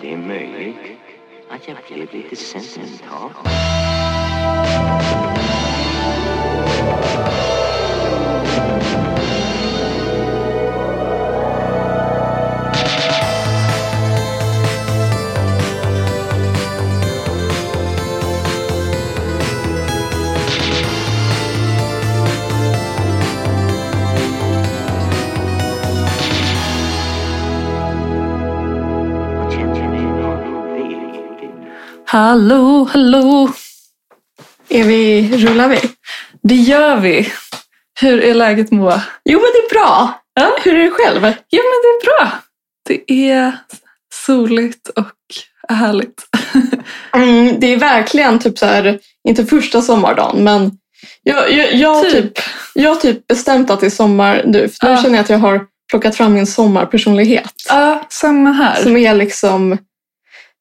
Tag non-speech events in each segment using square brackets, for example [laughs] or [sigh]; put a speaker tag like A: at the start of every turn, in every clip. A: Det är möjligt att jag blev lite sentimental. Jag känner mig något velig.
B: Hallå, hallå!
C: Är vi, rullar vi?
B: Det gör vi! Hur är läget Moa?
C: Jo men det är bra!
B: Ja.
C: Hur är det själv?
B: Jo, men det är bra. Det är soligt och härligt.
C: Mm, det är verkligen typ så här, inte första sommardagen men jag, jag, jag, har typ. Typ, jag har typ bestämt att det är sommar nu för nu
B: Ja.
C: känner jag att jag har plockat fram min sommarpersonlighet
B: Ja, samma här.
C: som är liksom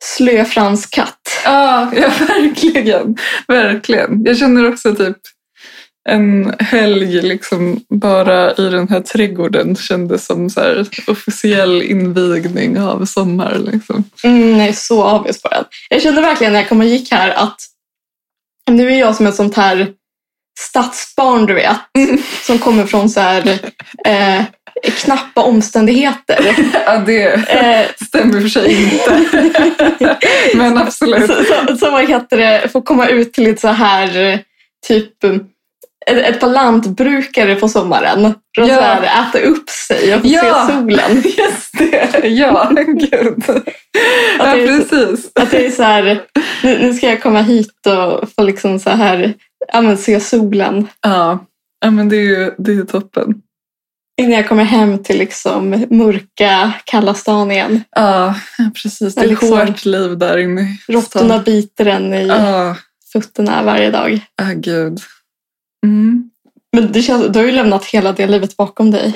C: slö fransk katt.
B: Ja, [laughs] ja, verkligen. Verkligen. Jag känner också typ en helg liksom bara i den här trädgården kändes som så här officiell invigning av sommar. Liksom.
C: Mm, jag är så avis på den. Jag kände verkligen när jag kom och gick här att nu är jag som ett sånt här stadsbarn du vet som kommer från så här eh, knappa omständigheter. [laughs]
B: Ja, det
C: Eh,
B: stämmer i och för sig inte.
C: [laughs]
B: Men [laughs] absolut.
C: Så- så- Som man heter det, får komma ut till ett så här eh, typ eh, ett, ett par lantbrukare på sommaren. För att
B: Ja.
C: så här, äta upp sig och få
B: Ja.
C: se solen.
B: Just det, ja. Gud. Ja,
C: det är typ så-
B: precis.
C: Att det är så här, nu, nu ska jag komma hit och få liksom så här, ja, men se solen.
B: Ja, ja men det är ju det är ju toppen.
C: Innan jag kommer hem till liksom mörka kalla stan igen.
B: Ja, precis. Det är
C: Ja, liksom.
B: ett hårt liv där inne. i stan.
C: Råttorna biter en i
B: Ja,
C: fötterna varje dag.
B: ah, gud. Mm.
C: Men det känns, du har ju lämnat hela det livet bakom dig.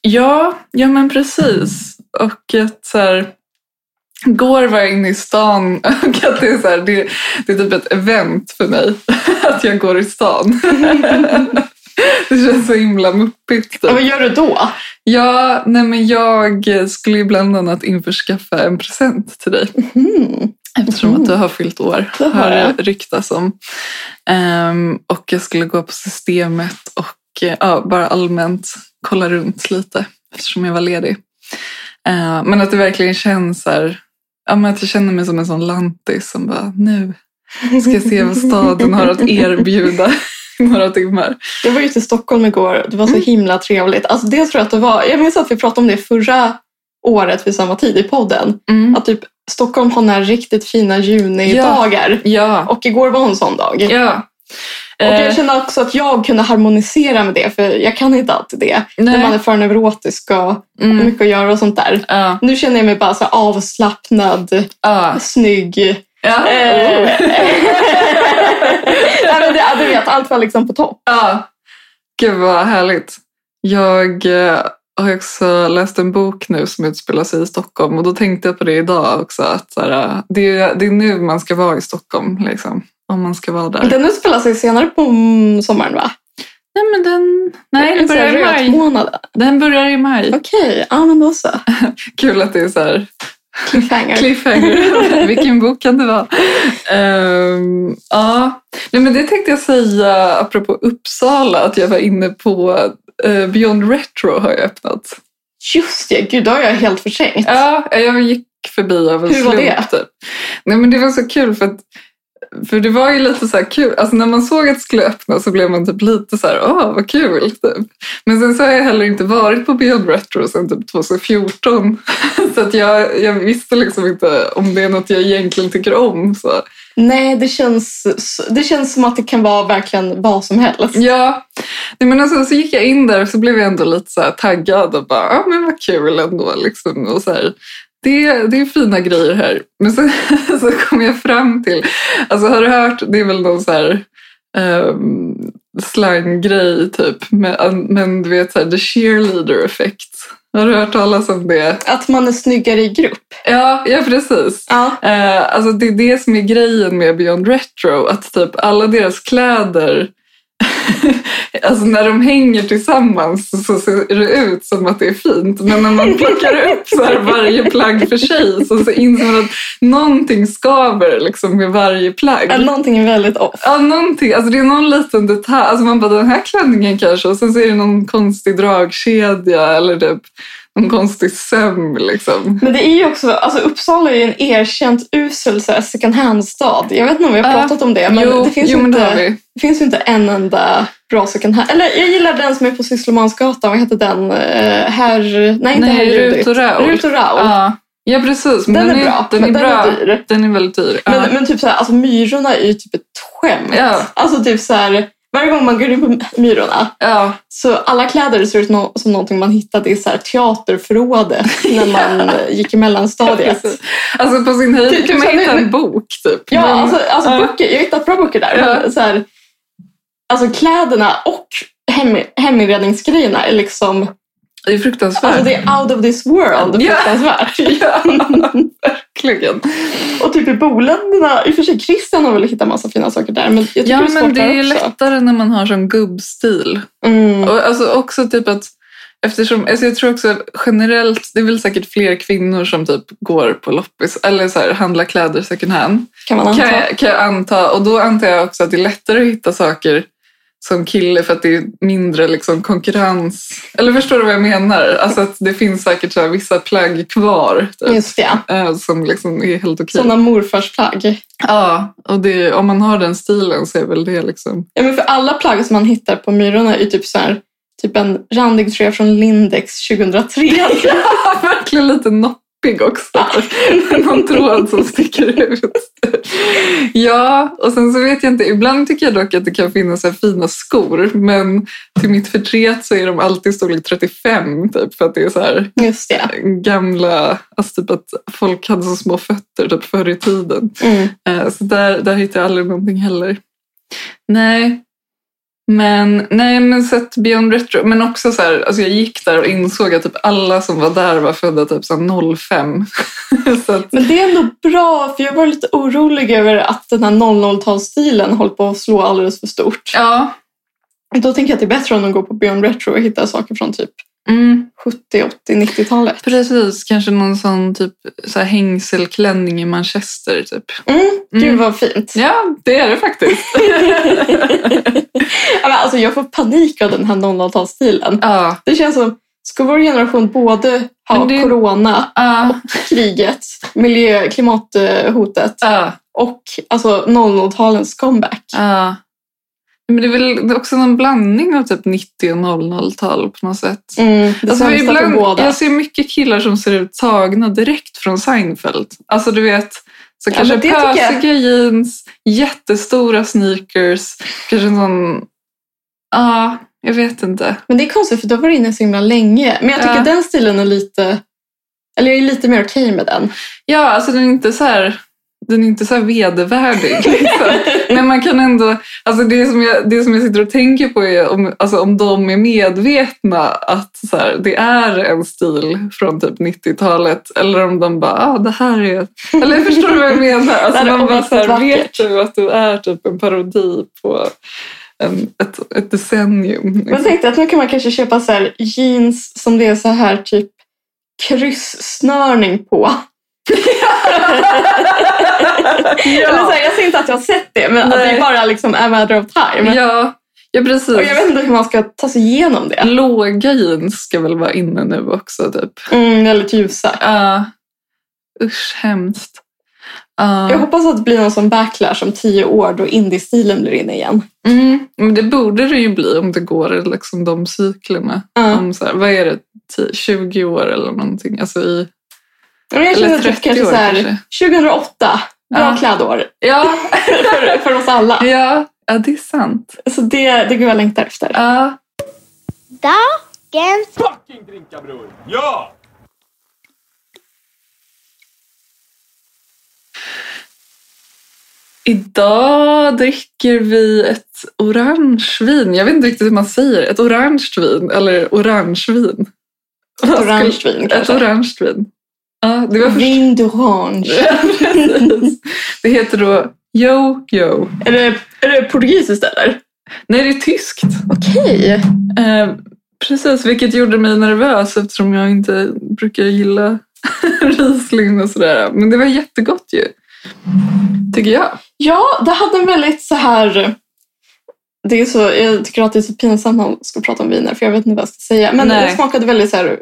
B: Ja, ja men precis. Och att så här, går var jag inne i stan [laughs] och att det är, så här, det, det är typ ett event för mig. [laughs] Att jag går i stan. [laughs] Det känns så himla muppigt.
C: Ja,
B: Typ.
C: vad gör du då?
B: Ja, nej men jag skulle ju bland annat införskaffa en present till dig.
C: Mm.
B: Eftersom
C: Mhm.
B: att du har fyllt år,
C: Det har
B: har det
C: jag.
B: ryktats om. Ehm, och jag skulle gå på systemet och eh, ja, bara allmänt kolla runt lite eftersom jag var ledig. Eh, men att det verkligen känns så här, ja, men att jag känner mig som en sån lantis som bara nu ska jag se vad staden har
C: [laughs]
B: att erbjuda i några timmar.
C: Jag var ute i Stockholm igår. Det var
B: Mm.
C: så himla trevligt. Alltså, det tror jag, att det var, jag minns att vi pratade om det förra året vid samma tid i
B: Mm.
C: podden. Att typ, Stockholm har några riktigt fina junidagar.
B: Ja,
C: Och igår var en sån dag.
B: ja.
C: Och jag
B: Eh,
C: kände också att jag kunde harmonisera med det, för jag kan inte alltid det. När man är
B: nej.
C: för neurotisk och har
B: Mm.
C: mycket att göra och sånt där.
B: Ja,
C: Nu känner jag mig bara så här avslappnad,
B: ja.
C: snygg. [laughs]
B: Ja.
C: Eh. Nej, men det, ja, du vet, allt var liksom på topp.
B: Ja, gud vad härligt. Jag eh, har också läst en bok nu som utspelar sig i Stockholm och då tänkte jag på det idag också. Att så här, eh, det, är, det är nu man ska vara i Stockholm, liksom, om man ska vara där.
C: Den utspelar sig senare på mm, sommaren va?
B: nej, men den, nej, den börjar i maj.
C: månaden.
B: Den börjar i maj.
C: Okej, ja men då så.
B: Kul att det är så här
C: Cliffhanger.
B: cliffhanger. Vilken bok kan det vara? Ehm, ja. Nej, men det tänkte jag säga apropå Uppsala, att jag var inne på eh, Beyond Retro har jag öppnat.
C: Just det, gud det har jag helt förträngt.
B: Ja, jag gick förbi av en
C: Hur var
B: slump.
C: det?
B: Typ. Nej, men det var så kul för att för det var ju lite så här kul. Alltså när man såg att det skulle öppna så blev man typ lite så här, åh vad kul. Typ. Men sen så har jag heller inte varit på Beyond Retro sedan typ 2014. [laughs] Så att jag, jag visste liksom inte om det är något jag egentligen tycker om. Så.
C: Nej, det känns, det känns som att det kan vara verkligen vad som helst.
B: Ja, Nej, men alltså, så gick jag in där och så blev jag ändå lite så här taggad och bara, ja men vad kul ändå liksom. Och så här, det, det är fina grejer här. Men sen [laughs] så kom jag fram till, alltså har du hört, det är väl någon så här um, slanggrej typ, men, men du vet så här, the cheerleader effekt. Har du hört talas om det?
C: Att man är snyggare i grupp.
B: Ja, ja precis.
C: Ja.
B: Eh, alltså det är det som är grejen med Beyond Retro, att typ alla deras kläder [laughs] alltså när de hänger tillsammans så ser det ut som att det är fint. Men när man plockar upp så här varje plagg för sig så, så inser man att någonting skaver liksom med varje plagg.
C: Ja, någonting är väldigt off.
B: Ja, någonting. Alltså det är någon liten detalj. Alltså man bara, den här klänningen kanske. Och sen så är det någon konstig dragkedja eller typ någon konstig söm liksom.
C: Men det är ju också, alltså Uppsala är ju en erkänt usel så här, second hand-stad. Jag vet inte om vi har
B: Ja.
C: pratat om det, men
B: jo,
C: det, finns
B: jo,
C: ju
B: men det
C: inte,
B: har vi.
C: det finns ju inte en enda bra second hand. Eller jag gillar den som är på Sysslomansgatan, vad heter den? Eh, Herr... Nej, inte
B: Nej,
C: Herr
B: Rut och
C: Judit.
B: Raoul.
C: Rut och Raoul.
B: Ja. ja, precis. Men
C: Den, är bra,
B: Den är,
C: men
B: bra.
C: den är dyr.
B: Den är väldigt dyr. Ja.
C: Men, men typ så här, alltså Myrorna är ju typ ett skämt.
B: Ja.
C: Alltså typ så här, varje gång man går in på Myrorna
B: ja.
C: Så alla kläder ser ut nå- som någonting man hittade i så här
B: [laughs]
C: teaterförrådet när man gick i mellanstadiet.
B: Precis. Alltså på sin höjd
C: Typ
B: kan man
C: som
B: hitta
C: nu-
B: en bok typ.
C: Ja,
B: Men-
C: alltså, alltså
B: ja.
C: böcker. Jag har hittat bra böcker där.
B: Ja.
C: Men så här, alltså kläderna och hem, heminredningsgrejerna är liksom...
B: det är fruktansvärt.
C: Alltså det är out of this world.
B: Ja.
C: Fruktansvärt.
B: Ja, [laughs] verkligen.
C: Och typ i boländerna, i och för sig Christian har väl hittat massa fina saker där. Men jag tycker
B: Ja,
C: det är svårt
B: men det
C: där
B: är
C: också.
B: lättare när man har sån gubbstil.
C: Mm.
B: Och alltså också typ att Eftersom, alltså jag tror också generellt, det är väl säkert fler kvinnor som typ går på loppis eller så här, handlar kläder second hand.
C: Kan man anta.
B: Kan jag, kan jag anta. Och då antar jag också att det är lättare att hitta saker som kille för att det är mindre liksom, konkurrens. Eller förstår du vad jag menar? Alltså att det finns säkert så här, vissa plagg kvar typ,
C: Just det.
B: eh, som liksom är helt okej.
C: Sådana morfarsplagg.
B: Ja, och det, om man har den stilen så är väl det liksom... [laughs]
C: Ja, men för alla plagg som man hittar på Myrorna är typ så här, typ en randig tröja från Lindex 2003.
B: [laughs] Verkligen lite noppig också. [laughs] Någon tråd som sticker ut. Ja, och sen så vet jag inte. Ibland tycker jag dock att det kan finnas så här fina skor. Men till mitt förtret så är de alltid storlek 35. Typ, för att det är så här
C: Just det.
B: gamla... Alltså typ att folk hade så små fötter typ förr i tiden.
C: Mm.
B: Eh, Så där, där hittar jag aldrig någonting heller. Nej. Men, nej, men sett Beyond Retro. Men också så här, alltså jag gick där och insåg att typ alla som var där var födda typ så här 05. [laughs] så att,
C: Men det är ändå bra, för jag var lite orolig över att den här 00-talsstilen håller på att slå alldeles för stort.
B: ja.
C: Då tänker jag att det är bättre om de går på Beyond Retro och hittar saker från typ
B: Mm,
C: 70, 80, 90-talet.
B: precis, kanske någon sån typ så här hängselklänning i Manchester. Typ.
C: Mm, gud
B: Mm.
C: vad
B: [laughs]
C: fint.
B: Ja, det är det faktiskt.
C: Ja, men alltså, jag får panik av den här 00-talsstilen.
B: ja.
C: Det känns som, ska vår generation både ha
B: Men det-
C: corona,
B: Ja,
C: kriget, miljö, klimathotet
B: ja,
C: och alltså 00-talens comeback.
B: ja. Men det är väl också någon blandning av typ 90 och 00-tal på något sätt.
C: Mm, det
B: Alltså,
C: sämsta
B: ibland,
C: för båda.
B: jag ser mycket killar som ser ut tagna direkt från Seinfeld. Alltså du vet, så
C: Ja,
B: kanske
C: men det tycker jag.
B: pösiga jeans, jättestora sneakers, kanske en sån... Ja, jag vet inte.
C: Men det är konstigt för du har varit inne så himla länge. Men jag tycker
B: Ja.
C: den stilen är lite... Eller jag är lite mer okej med den.
B: Ja, alltså den är inte så här... Den är inte så här vedervärdig. [laughs] Liksom. Men man kan ändå... Alltså det, som jag, det som jag sitter och tänker på är om, alltså om de är medvetna att så här, det är en stil från typ 90-talet. Eller om de bara, ah, det här är... Eller förstår du vad jag menar? Alltså
C: Det här är
B: man bara så här,
C: oerhört
B: vet du att du är typ en parodi på en, ett, ett decennium? Liksom. [laughs]
C: Men tänkte att nu kan man kanske köpa så här jeans som det är så här typ kryssnörning på. Eller så här, jag ser inte att jag har sett det, men att det
B: Nej.
C: är bara liksom a matter of time.
B: ja, ja, precis.
C: Och jag vet inte hur man ska ta sig igenom det.
B: Låga jeans ska väl vara inne nu också typ.
C: Mm, väldigt ljusa.
B: Ja. Usch, hemskt. Ja.
C: Jag hoppas att det blir någon sån backlash om tio år då indiestilen blir inne igen.
B: Mm. Men det borde det ju bli om det går liksom de cyklerna.
C: Ja.
B: Om så här, vad är det, 10, 20 år eller någonting? Alltså i,
C: Men jag känner
B: eller
C: att typ
B: 30
C: kanske
B: år
C: så här,
B: kanske.
C: 2008, bra
B: Ja.
C: klädår [laughs]
B: Ja,
C: för, för oss alla.
B: ja, ja, det är sant.
C: Så det, det är gud vad jag längtar efter.
B: Ja.
D: Dagens
E: fucking drinka bror! Ja!
B: Idag dricker vi ett orange vin. Jag vet inte riktigt hur man säger. Ett orange vin eller orange vin. Vad skulle-
C: orange vin,
B: Ett
C: kanske.
B: orange vin. Ja, det var först-
C: Vin d'orange. [laughs]
B: Precis. Det heter då Yo Yo.
C: Är det, är det portugisiskt eller?
B: Nej, det är tyskt.
C: Okej.
B: Eh, precis, vilket gjorde mig nervös eftersom jag inte brukar gilla [laughs] Riesling och sådär. Men det var jättegott ju. Tycker jag.
C: Ja, det hade en väldigt så här... Det är så, jag tycker att det är så pinsamt när man ska prata om viner, för jag vet inte vad jag ska säga. Men
B: Nej.
C: det smakade väldigt så här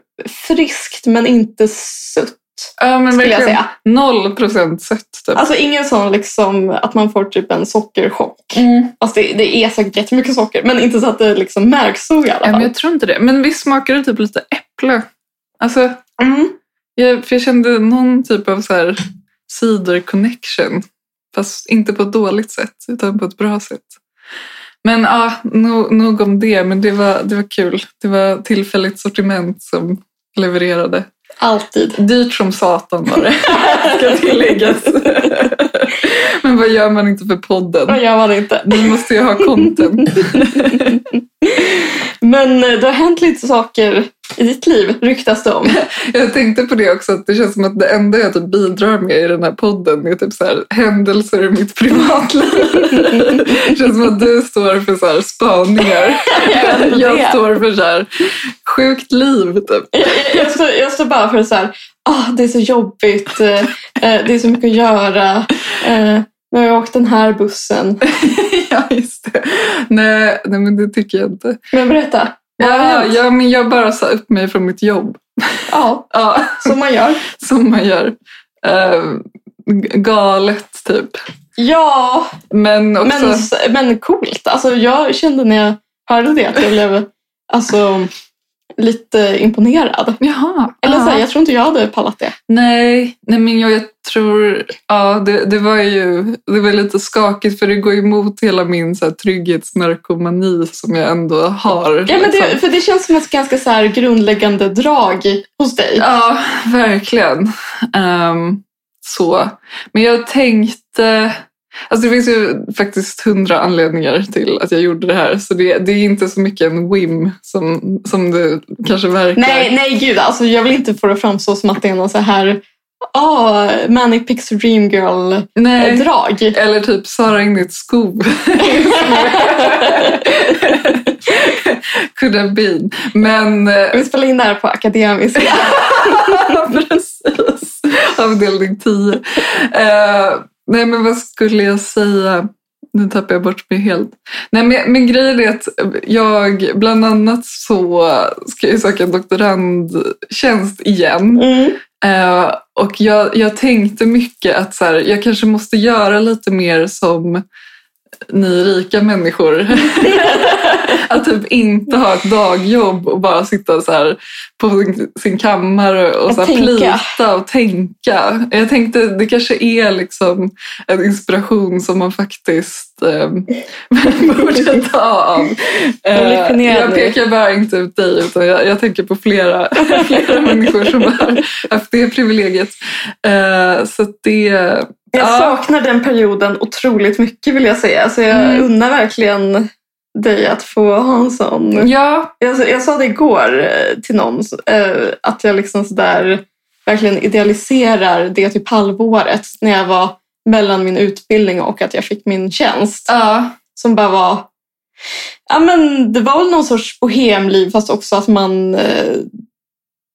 C: friskt, men inte sött,
B: Ja, men
C: skulle jag
B: verkligen.
C: säga.
B: Noll procent sött typ.
C: Alltså ingen sån liksom att man får typ en sockerchock.
B: Mm.
C: Alltså det, det är säkert jättemycket socker, men inte så att det liksom märks så i alla
B: Nej, men
C: fall.
B: jag tror inte det. Men visst smakar det typ lite äpple? Alltså,
C: Mm.
B: jag, för jag kände någon typ av så här cider-connection. Fast inte på ett dåligt sätt, utan på ett bra sätt. Men ja, nog, nog om det. Men det var, det var kul. Det var tillfälligt sortiment som levererade.
C: Alltid.
B: Dyrt som satan var det, [laughs] ska
C: [laughs]
B: tilläggas. Men vad gör man inte för
C: Vad
B: podden?
C: gör man inte?
B: Ni måste ju ha content.
C: Men eh, det har hänt lite saker i ditt liv, ryktas det om.
B: Jag tänkte på det också, att det känns som att det enda jag typ bidrar med i den här podden är typ så här, händelser i mitt privatliv. [laughs] Det känns som att du står för så här spaningar.
C: [laughs] Jag vet inte det.
B: [laughs] Jag står för så här, sjukt liv. Typ.
C: Jag- jag, står, jag står bara för så här, ah, det är så jobbigt, eh, eh, det är så mycket att göra. Eh, men jag har åkt den här bussen.
B: [laughs] Ja, just det. Nej, nej, men det tycker jag inte.
C: Men berätta, vad har
B: Ja,
C: hänt?
B: ja, men jag bara sa upp mig från mitt jobb.
C: Ja,
B: Ja, [laughs]
C: som man gör.
B: som man gör. Eh, g- galet, typ.
C: Ja,
B: Men också...
C: men, s- men coolt. Alltså, jag kände när jag hörde det att jag blev alltså, lite imponerad.
B: Jaha.
C: Eller så här,
B: ja.
C: jag tror inte jag hade pallat det.
B: Nej, nej men jag, jag tror... Ja, det, det var ju det var lite skakigt för det går emot hela min så här, trygghetsnarkomani som jag ändå har.
C: Ja, men det,
B: liksom.
C: för det känns som ett ganska så här grundläggande drag hos dig.
B: ja verkligen. Ehm, så. Men jag tänkte... Alltså det finns ju faktiskt hundra anledningar till att jag gjorde det här. Så det, det är inte så mycket en whim som, som det kanske verkar.
C: Nej, nej gud. Alltså, jag vill inte få det att framstå som att det är någon så här ah Manic Pixie Dream Girl-drag.
B: Nej. [laughs] Eller typ Sara Ingrid Skog. [laughs] Could have been. Men eh,
C: Vi spelar in det här
B: [laughs]
C: på akademiska.
B: precis, avdelning 10. Eh, nej men vad skulle jag säga? Nu tappar jag bort mig helt. Nej men, men grejen är att jag bland annat så ska jag ju söka en doktorandtjänst igen.
C: Mm.
B: Eh, och jag, jag tänkte mycket att så här, jag kanske måste göra lite mer som ni rika människor. att typ inte ha ett dagjobb och bara sitta så här på sin, sin kammare och
C: Att
B: så här
C: tänka.
B: plita och tänka. Jag tänkte det kanske är liksom en inspiration som man faktiskt eh, [laughs] borde ta av. Eh,
C: Revolutionerande.
B: jag pekar bara inte ut dig utan jag, jag tänker på flera, [laughs] flera människor som har haft det privilegiet. Eh, så att det...
C: Jag
B: ja.
C: saknar den perioden otroligt mycket vill jag säga. Så jag
B: Mm.
C: unnar verkligen dig att få ha en sån.
B: Ja,
C: Jag, jag sa det igår eh, till någon eh, att jag liksom sådär verkligen idealiserar det typ halvåret när jag var mellan min utbildning och att jag fick min tjänst.
B: ja,
C: som bara var... Ja, men det var väl någon sorts bohemliv fast också att man, eh,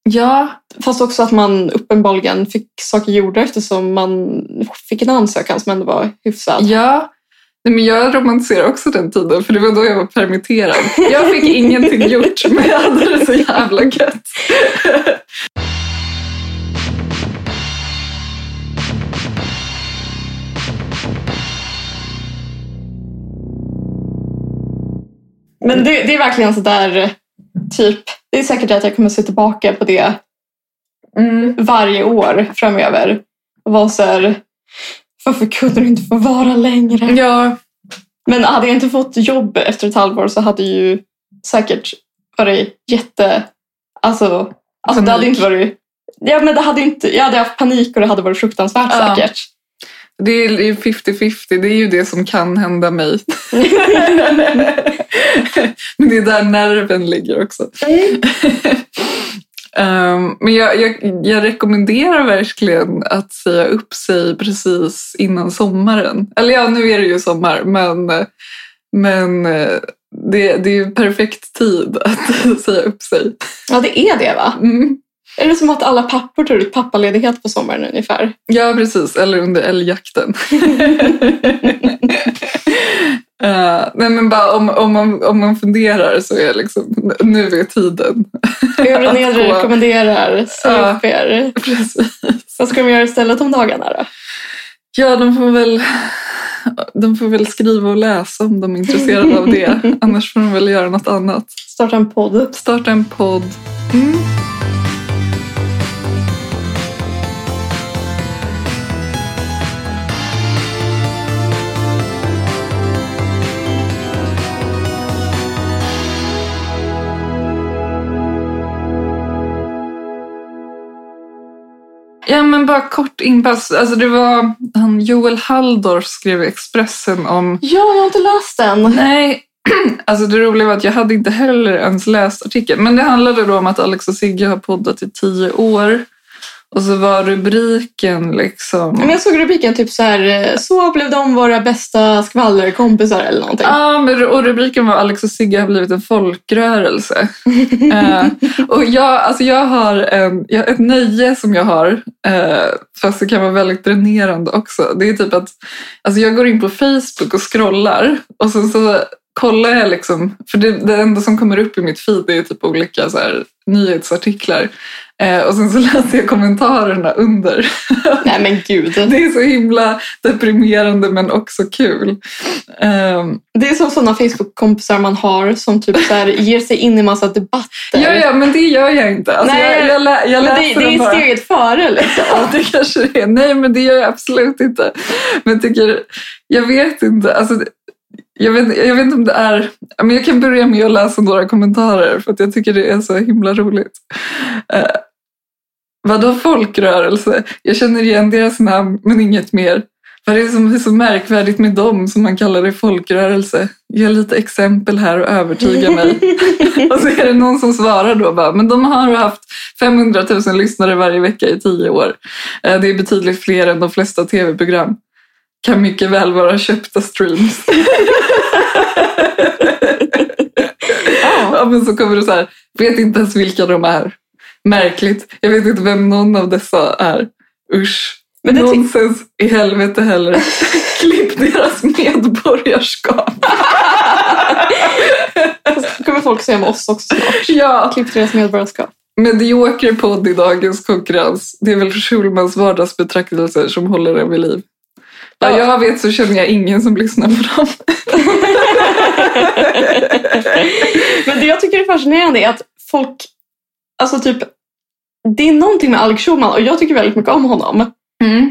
B: ja,
C: fast också att man uppenbarligen fick saker gjorda eftersom man fick en ansökan som ändå var hyfsad.
B: ja. Nej, men jag romantiserar också den tiden, för det var då jag var permitterad. Jag [laughs] fick ingenting gjort, men jag hade det så jävla gött.
C: Men det, det är verkligen så där eh, typ, det är säkert att jag kommer se tillbaka på det
B: Mm.
C: varje år framöver och vara så här, varför kunde du inte få vara längre?
B: Ja,
C: Men hade jag inte fått jobb efter ett halvår så hade ju säkert varit jätte... Alltså,
B: Panik.
C: alltså det hade inte varit... Ja, men det hade ju inte, jag hade haft panik och det hade varit fruktansvärt
B: Ja. [laughs]
C: säkert.
B: det är ju 50-50. Det är ju det som kan hända mig. Men det är där nerven ligger också. Ehm, men jag, jag, jag rekommenderar verkligen att säga upp sig precis innan sommaren. Eller ja, nu är det ju sommar, men, Men eh, det, det är ju perfekt tid att [laughs] säga upp sig.
C: Ja, det är det va?
B: Mm.
C: Är det som att alla pappor tar ut pappaledighet på sommaren ungefär?
B: Ja, precis. Eller under älgjakten. [laughs] Eh, nej, men bara om, om, man, om man funderar så är liksom, nu är tiden. [laughs]
C: Övre
B: Att
C: nedre
B: gå-
C: rekommenderar, säg
B: Ja.
C: upp er.
B: Precis.
C: Vad ska de göra istället om dagarna då?
B: Ja, de får, väl, de får väl skriva och läsa om de är intresserade av det. Annars får de väl göra något annat.
C: Starta en podd.
B: Starta en podd. Mm. Ja men bara kort inpass. Alltså det var han Joel Halldorf skrev i Expressen om
C: Ja, jag har inte läst den.
B: Nej, [clears throat] alltså det roliga var att jag hade inte heller ens läst artikeln. Men det handlade då om att Alex och Sigge har poddat i tio år. Och så var rubriken liksom...
C: Men jag såg rubriken typ så här, eh, så blev de våra bästa skvallerkompisar eller någonting.
B: Ja, men, och rubriken var Alex och Sigge har blivit en folkrörelse. Eh, och jag, alltså jag har en, jag, ett nöje som jag har, eh, fast det kan vara väldigt dränerande också. Det är typ att alltså jag går in på Facebook och scrollar och sen så kollar jag liksom, för det, det enda som kommer upp i mitt feed är typ olika så här, nyhetsartiklar. Eh, och sen så [laughs] läser jag kommentarerna under.
C: Nej men gud.
B: Det är så himla deprimerande men också kul. Ehm,
C: Det är som sådana Facebook-kompisar man har som typ så här, ger sig in i massa debatter.
B: Ja, ja, men det gör jag inte. Alltså,
C: Nej,
B: jag, jag, lä, jag
C: men
B: läser
C: det, det
B: den
C: är
B: bara.
C: steget före liksom.
B: Ja, det kanske det är. Nej, men det gör jag absolut inte. Men jag tycker, jag vet inte. Alltså, det- jag, vet, jag vet inte om det är... ja, Men jag kan börja med att läsa några kommentarer för att jag tycker det är så himla roligt. Eh, vadå folkrörelse? Jag känner igen deras namn, men inget mer. Vad är det som är så märkvärdigt med dem som man kallar det folkrörelse? Ge lite exempel här och övertyga
C: [laughs]
B: mig. Och så är det någon som svarar då bara, men de har haft 500 000 lyssnare varje vecka i tio år. Eh, Det är betydligt fler än de flesta tv-program. Kan mycket väl vara köpta streams.
C: Ja.
B: [laughs] Ja, men så kommer det så här, vet inte ens vilka de är. Märkligt, jag vet inte vem någon av dessa är. Usch.
C: Men det ty-
B: Nonsens i helvete heller.
C: [laughs]
B: Klipp deras medborgarskap.
C: Då kommer folk säga med oss också snart.
B: Ja.
C: Klipp deras medborgarskap.
B: Medioker podd i dagens konkurrens. Det är väl Schulmans vardagsbetraktelser som håller den vid liv. Vad
C: Ja.
B: jag vet så känner jag ingen som lyssnar på dem.
C: Men det jag tycker är fascinerande är att folk, alltså typ, det är någonting med Alex Schulman och jag tycker väldigt mycket om honom.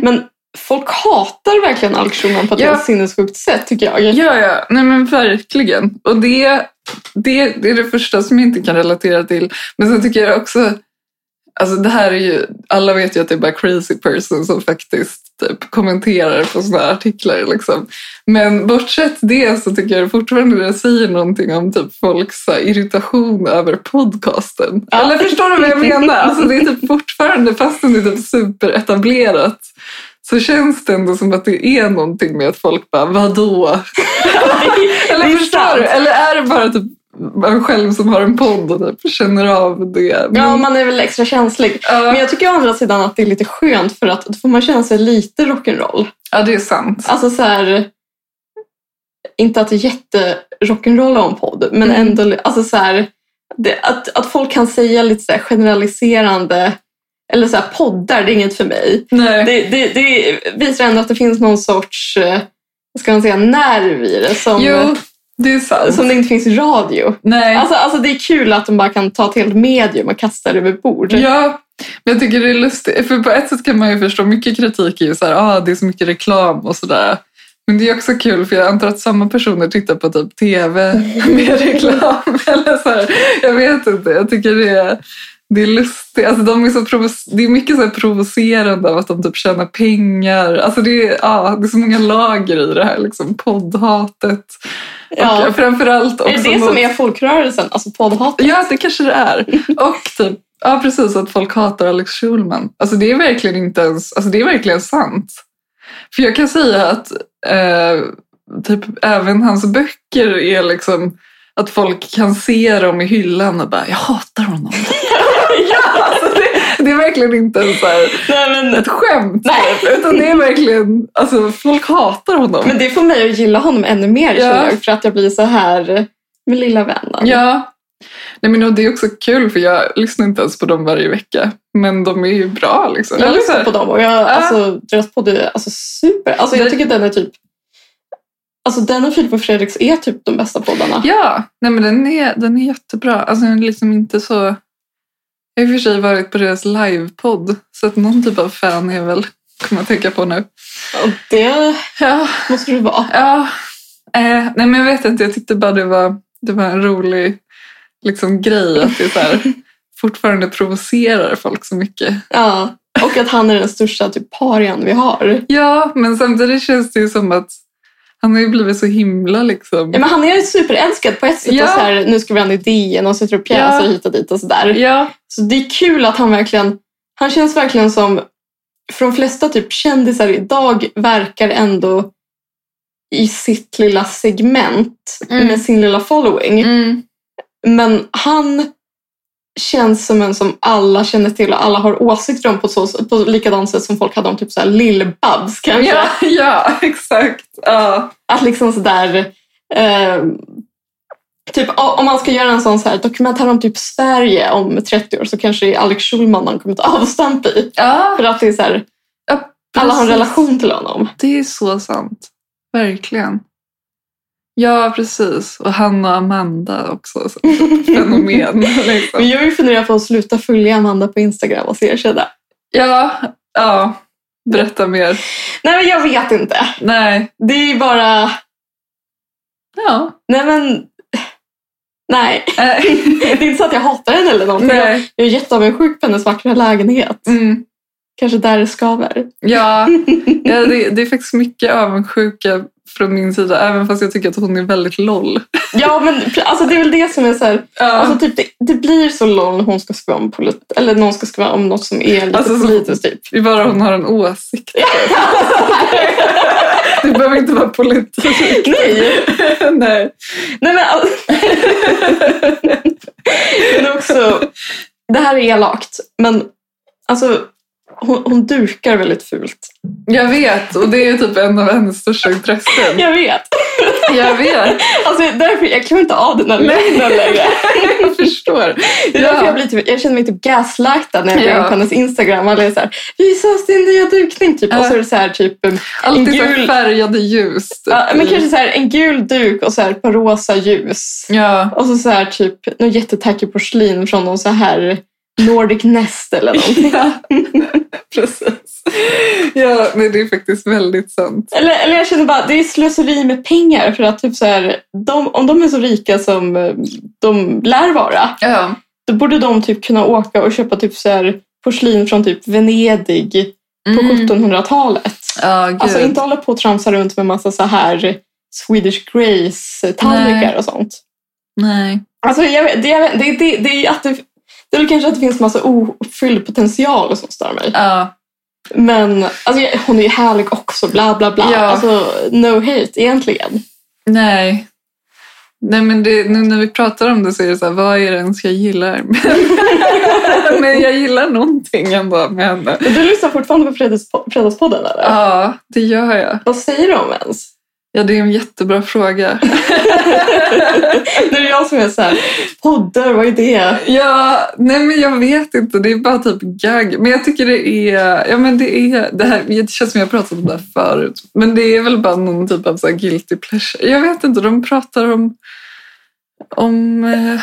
C: Men folk hatar verkligen Alex Schulman på ett
B: Ja.
C: helt sinnessjukt sätt tycker jag.
B: Ja, ja. Nej, men verkligen. Och det, det, det är det första som jag inte kan relatera till. Men sen tycker jag också... Alltså det här är ju, alla vet ju att det är bara crazy person som faktiskt typ kommenterar på såna här artiklar. Liksom. Men bortsett det så tycker jag fortfarande det säger någonting om typ folks så här, irritation över podcasten.
C: Ja.
B: Eller förstår du vad jag menar? Alltså det är typ fortfarande, fastän det är typ superetablerat, så känns det ändå som att det är någonting med att folk bara vadå? [laughs] Eller
C: [laughs] Det är
B: förstår
C: sant.
B: du? Eller är det bara typ man själv som har en podd och typ känner av det?
C: Ja,
B: Men-
C: man är väl extra känslig.
B: Ja.
C: Men jag tycker å andra sidan att det är lite skönt för att då får man känna sig lite rock'n'roll.
B: Ja, det är sant.
C: Alltså så här, inte att det är jätte rock'n'roll om podd, men
B: Mm.
C: ändå alltså så här, det, att, att folk kan säga lite så här generaliserande, eller så här poddar, det är inget för mig.
B: Nej.
C: Det, det, det visar ändå att det finns någon sorts, eh, vad ska man säga, nerv i det som,
B: jo, det är sant.
C: som det inte finns i radio.
B: Nej.
C: Alltså, alltså det är kul att de bara kan ta ett helt medium och kasta det över bord.
B: Ja, men jag tycker det är lustigt. För på ett sätt kan man ju förstå mycket kritik är ju så här, ah, det är så mycket reklam och sådär. Men det är också kul för jag antar att samma personer tittar på typ
C: [laughs]
B: tv med reklam. Eller så här. Jag vet inte, jag tycker det är, det är lustigt. Alltså, de är så provo- det är mycket så här provocerande av att de typ tjänar pengar. Alltså, det, är, ja, det är så många lager i det här liksom, poddhatet.
C: Ja.
B: Och framförallt också
C: Är det det
B: mot-
C: som är folkrörelsen? Alltså poddhat?
B: Ja, det kanske det är. Och typ, ja precis, att folk hatar Alex Schulman. Alltså det är verkligen inte ens, alltså det är verkligen sant. För jag kan säga att eh, typ även hans böcker är liksom att folk kan se dem i hyllan och bara “jag hatar honom”. alltså det, det är verkligen inte en så här,
C: Nej, men,
B: ett skämt. [laughs]
C: Nej.
B: typ, Utan det är verkligen, alltså folk hatar honom.
C: men det får mig att gilla honom ännu mer
B: Ja.
C: känner jag, för att jag blir så här med lilla vännen.
B: Ja. Nej, men och det är också kul för jag lyssnar inte ens på dem varje vecka. Men de är ju bra liksom.
C: Jag
B: Eller så
C: lyssnar
B: här-
C: på dem och jag, alltså, deras podd är alltså, super. Alltså, jag tycker den är typ... Alltså den och Filip och Fredriks är typ de bästa poddarna.
B: Ja, nej men den är, den är jättebra. Alltså den är liksom inte så... Jag har i och för sig varit på deras livepodd, så att någon typ av fan är jag väl, kommer jag tänka på nu.
C: Och det
B: Ja,
C: måste det vara.
B: ja. Eh, nej men jag vet inte, jag tyckte bara det var, det var en rolig liksom, grej att det är så
C: [laughs]
B: här, fortfarande provocerar folk så mycket.
C: Ja. Och att han är den största typ parian vi har.
B: Ja, men samtidigt känns det ju som att han har ju blivit så himla
C: Ja,
B: liksom...
C: men han är ju superälskad på ett sätt.
B: Ja.
C: Och så här, nu skriver han i DN och sätter upp pjäser
B: Ja.
C: hit och dit och sådär.
B: Ja,
C: Så det är kul att han verkligen, han känns verkligen som, för de flesta typ kändisar idag verkar ändå i sitt lilla segment
B: Mm.
C: med sin lilla following.
B: mm.
C: Men han känns som en som alla känner till och alla har åsikter om på, så, på likadant sätt som folk hade om typ så här Lill-Babs kanske.
B: ja, [laughs] ja exakt. Ja.
C: Att liksom sådär... Eh, typ o- om man ska göra en sån så här dokumentär om typ Sverige om 30 år så kanske det är Alex Schulman man kommer ta avstamp i.
B: Ja,
C: För att det är så här,
B: ja,
C: alla har en
B: precis.
C: relation till honom.
B: Det är så sant. Verkligen. Ja, precis. Och han och Amanda också. [laughs] Så ett fenomen.
C: Men
B: Liksom.
C: jag har ju funderat på att sluta följa Amanda på Instagram och se erkänna.
B: Ja, ja. Berätta mer.
C: Nej men jag vet inte.
B: Nej.
C: Det är ju bara...
B: Ja.
C: Nej men... Nej. [laughs]
B: [laughs] Eh,
C: Det är inte så att jag hatar henne eller någonting. Jag,
B: Nej.
C: jag är jätteavundsjuk på hennes vackra lägenhet.
B: Mm.
C: Kanske där det skaver.
B: Ja, ja det, det är faktiskt mycket avundsjuka från min sida. Även fast jag tycker att hon är väldigt LOL.
C: Ja men alltså det är väl det som är så här...
B: Ja.
C: Alltså typ det, det blir så lång hon ska skriva om polit- eller någon ska skriva om något som är lite
B: Alltså, så-
C: politiskt typ.
B: det är bara hon har en
C: [laughs]
B: åsikt. Det behöver inte vara politik.
C: Nej!
B: Nej.
C: Nej men alltså. [laughs] men också, det här är elakt, men alltså hon, hon dukar väldigt fult.
B: Jag vet, och det är ju typ en av hennes största intressen.
C: Jag vet!
B: Jag vet,
C: Alltså därför, jag klarar inte av den här
B: Nej.
C: lögnen längre.
B: jag förstår.
C: Det är därför
B: Ja.
C: jag, blir typ, jag känner mig typ gaslightad när jag går
B: Ja.
C: in på hennes Instagram. Alla är så här, visa oss din nya dukning typ. Och så är det så här typ en
B: Alltid så här
C: gul-
B: färgade ljus. typ.
C: Ja, men kanske så här, en gul duk och så här, ett par rosa ljus. [laughs]
B: Ja.
C: Och så, så här, typ någon jättetackig porslin från någon så här Nordic Nest eller någonting.
B: ja, precis. Ja, nej, det är faktiskt väldigt sant.
C: Eller, eller jag känner bara, det är slöseri med pengar för att typ så här, de, om de är så rika som eh, de lär vara,
B: Ja,
C: då borde de typ kunna åka och köpa typ så här porslin från typ Venedig på
B: mm.
C: 1700-talet.
B: ja gud.
C: Alltså inte hålla på och tramsa runt med massa så här Swedish Grace-tallrikar
B: Nej.
C: och sånt.
B: Nej.
C: Alltså, jag vet, det, jag vet, det, det, det är att det, det är väl kanske att det finns massa ouppfylld potential som stör mig.
B: Ja.
C: Men alltså, jag, hon är ju härlig också, bla bla bla.
B: Ja.
C: Alltså, no hate egentligen.
B: Nej. Nej, men det, nu när vi pratar om det så är det så här, vad är det ens jag gillar? [laughs] men jag gillar någonting ändå med henne.
C: Du lyssnar fortfarande på Fredags- Fredagspodden eller?
B: Ja, det gör jag.
C: Vad säger de ens?
B: Ja, det är en jättebra fråga.
C: Det är jag som är så här, poddar, vad är det?
B: Ja, nej men jag vet inte. Det är bara typ gag. Men jag tycker det är... Ja, men det, är det, här, det känns som jag har pratat om det här förut. Men det är väl bara någon typ av så här guilty pleasure. Jag vet inte. De pratar om... Om eh,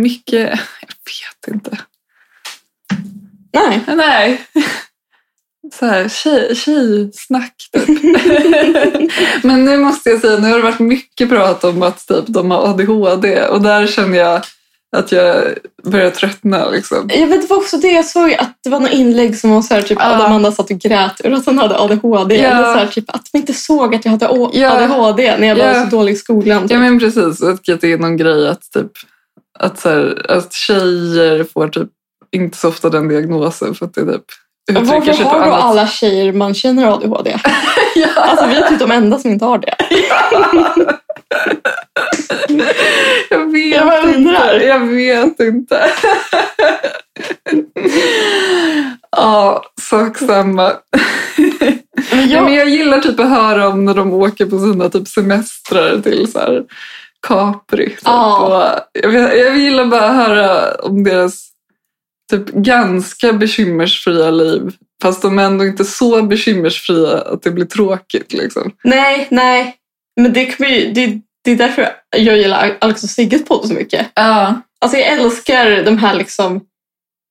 B: mycket... Jag vet inte.
C: Nej.
B: Nej. [laughs] Så här, tjej, tjejsnack typ. [laughs] Men nu måste jag säga, nu har det varit mycket prat om att typ, de har ADHD och där känner jag att jag börjar tröttna. Liksom.
C: Jag vet det var också det jag såg att det var något inlägg som var så här typ
B: Ja.
C: att Amanda satt och grät ur att hon hade ADHD.
B: Ja.
C: Eller så här, typ att man inte såg att jag hade å-
B: Ja.
C: ADHD när jag var
B: Ja.
C: så dålig i skolan.
B: Ja
C: typ.
B: men precis, och att det är någon grej att, typ, att, så här, att tjejer får typ inte så ofta den diagnosen för att det är typ uttrycker
C: Varför
B: sig på
C: har då
B: annat
C: alla tjejer man känner ADHD?
B: [laughs] Ja.
C: Alltså vi är typ de enda som inte har det.
B: Jag vet
C: Jag bara undrar.
B: inte. Jag vet inte. ja, sak samma.
C: Men
B: Ja. Men jag
C: jag,
B: gillar typ att höra om när de åker på sina typ semestrar till så här Capri. Typ.
C: Ja.
B: Och jag, vet- jag gillar bara att höra om deras typ ganska bekymmersfria liv. Fast de är ändå inte så bekymmersfria att det blir tråkigt. Liksom.
C: nej, nej. Men det, kommer ju, det, det är därför jag gillar Alex och Sigges podd så mycket.
B: Ja.
C: Alltså jag älskar de här liksom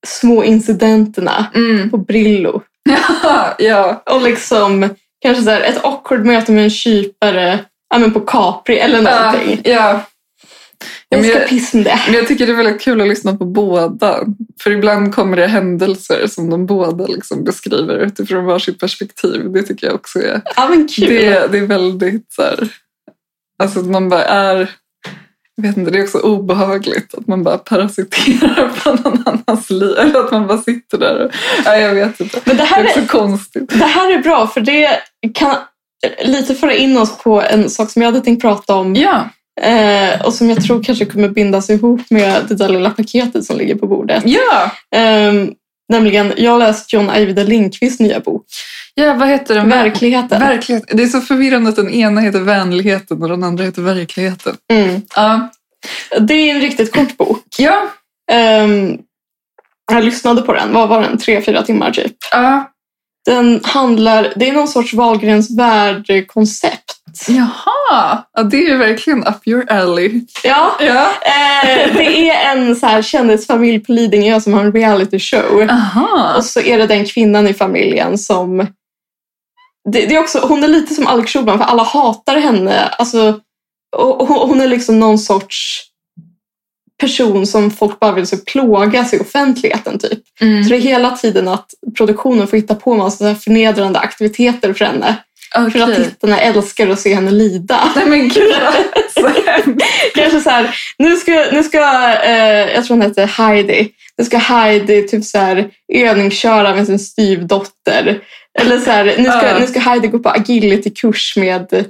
C: små incidenterna
B: Mm.
C: på Brillo.
B: [laughs] ja.
C: Och liksom kanske så här, ett awkward möte med en kypare ja, men på Capri eller någonting.
B: ja. Ja, men
C: jag ska
B: jag-
C: pissa med det.
B: Men jag tycker det är väldigt kul att lyssna på båda. För ibland kommer det händelser som de båda liksom beskriver utifrån varsitt perspektiv. Det tycker jag också är
C: Ja men kul.
B: Det, det är väldigt så här, alltså att man bara är, jag vet inte, det är också obehagligt att man bara parasiterar på någon annans liv. Eller att man bara sitter där och, nej jag vet inte.
C: Men det
B: Det
C: här
B: är
C: är,
B: också konstigt.
C: det här är bra för det kan lite föra in oss på en sak som jag hade tänkt prata om.
B: Ja,
C: Eh, och som jag tror kanske kommer bindas ihop med det där lilla paketet som ligger på bordet.
B: ja,
C: Ehm, nämligen, jag har läst John Ajvide Lindqvists nya bok.
B: ja vad heter den?
C: Verkligheten.
B: Verklighet. Det är så förvirrande att den ena heter vänligheten och den andra heter verkligheten.
C: Mm.
B: Ja,
C: Det är en riktigt kort bok.
B: ja,
C: Ehm, jag lyssnade på den, vad var den? Tre, fyra timmar typ.
B: ja.
C: Den handlar, det är någon sorts Wahlgrens värld-koncept.
B: jaha, ja, det är ju verkligen up your alley.
C: Ja,
B: Ja,
C: eh, det är en så här kändisfamilj på Lidingö som har en reality show.
B: aha.
C: Och så är det den kvinnan i familjen som... Det, det är också, hon är lite som Alex Schulman för alla hatar henne. Alltså, och, och hon hon är liksom någon sorts person som folk bara vill så plågas i offentligheten. Typ.
B: Mm.
C: Så det är hela tiden att produktionen får hitta på en massa så här förnedrande aktiviteter för henne. För att
B: Okej.
C: tittarna älskar att se
B: [laughs]
C: henne lida.
B: Nej men gud vad hemskt.
C: Kanske så här, nu ska, nu ska eh, jag tror hon heter Heidi, nu ska Heidi typ så här, övningsköra med sin styvdotter. Eller så här, nu ska,
B: Ja.
C: nu ska Heidi gå på agilitykurs med eh,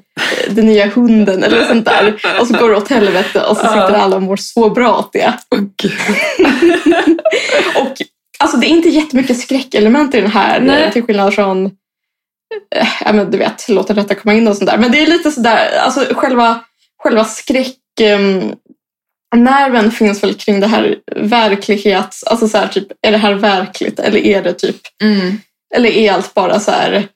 C: den nya hunden eller sånt där. Och så går det åt helvete och så
B: Ja.
C: sitter alla och mår så bra åt det.
B: Åh, gud.
C: Och alltså det är inte jättemycket skräckelement i den här,
B: Nej.
C: eh, till skillnad från eh, ja, men du vet, låta detta komma in och sånt där. Men det är lite sådär, alltså själva, själva skräck... ehm, nerven finns väl kring det här verklighets... Alltså så här, typ, är det här verkligt eller är det typ...
B: Mm.
C: Eller är allt bara så här...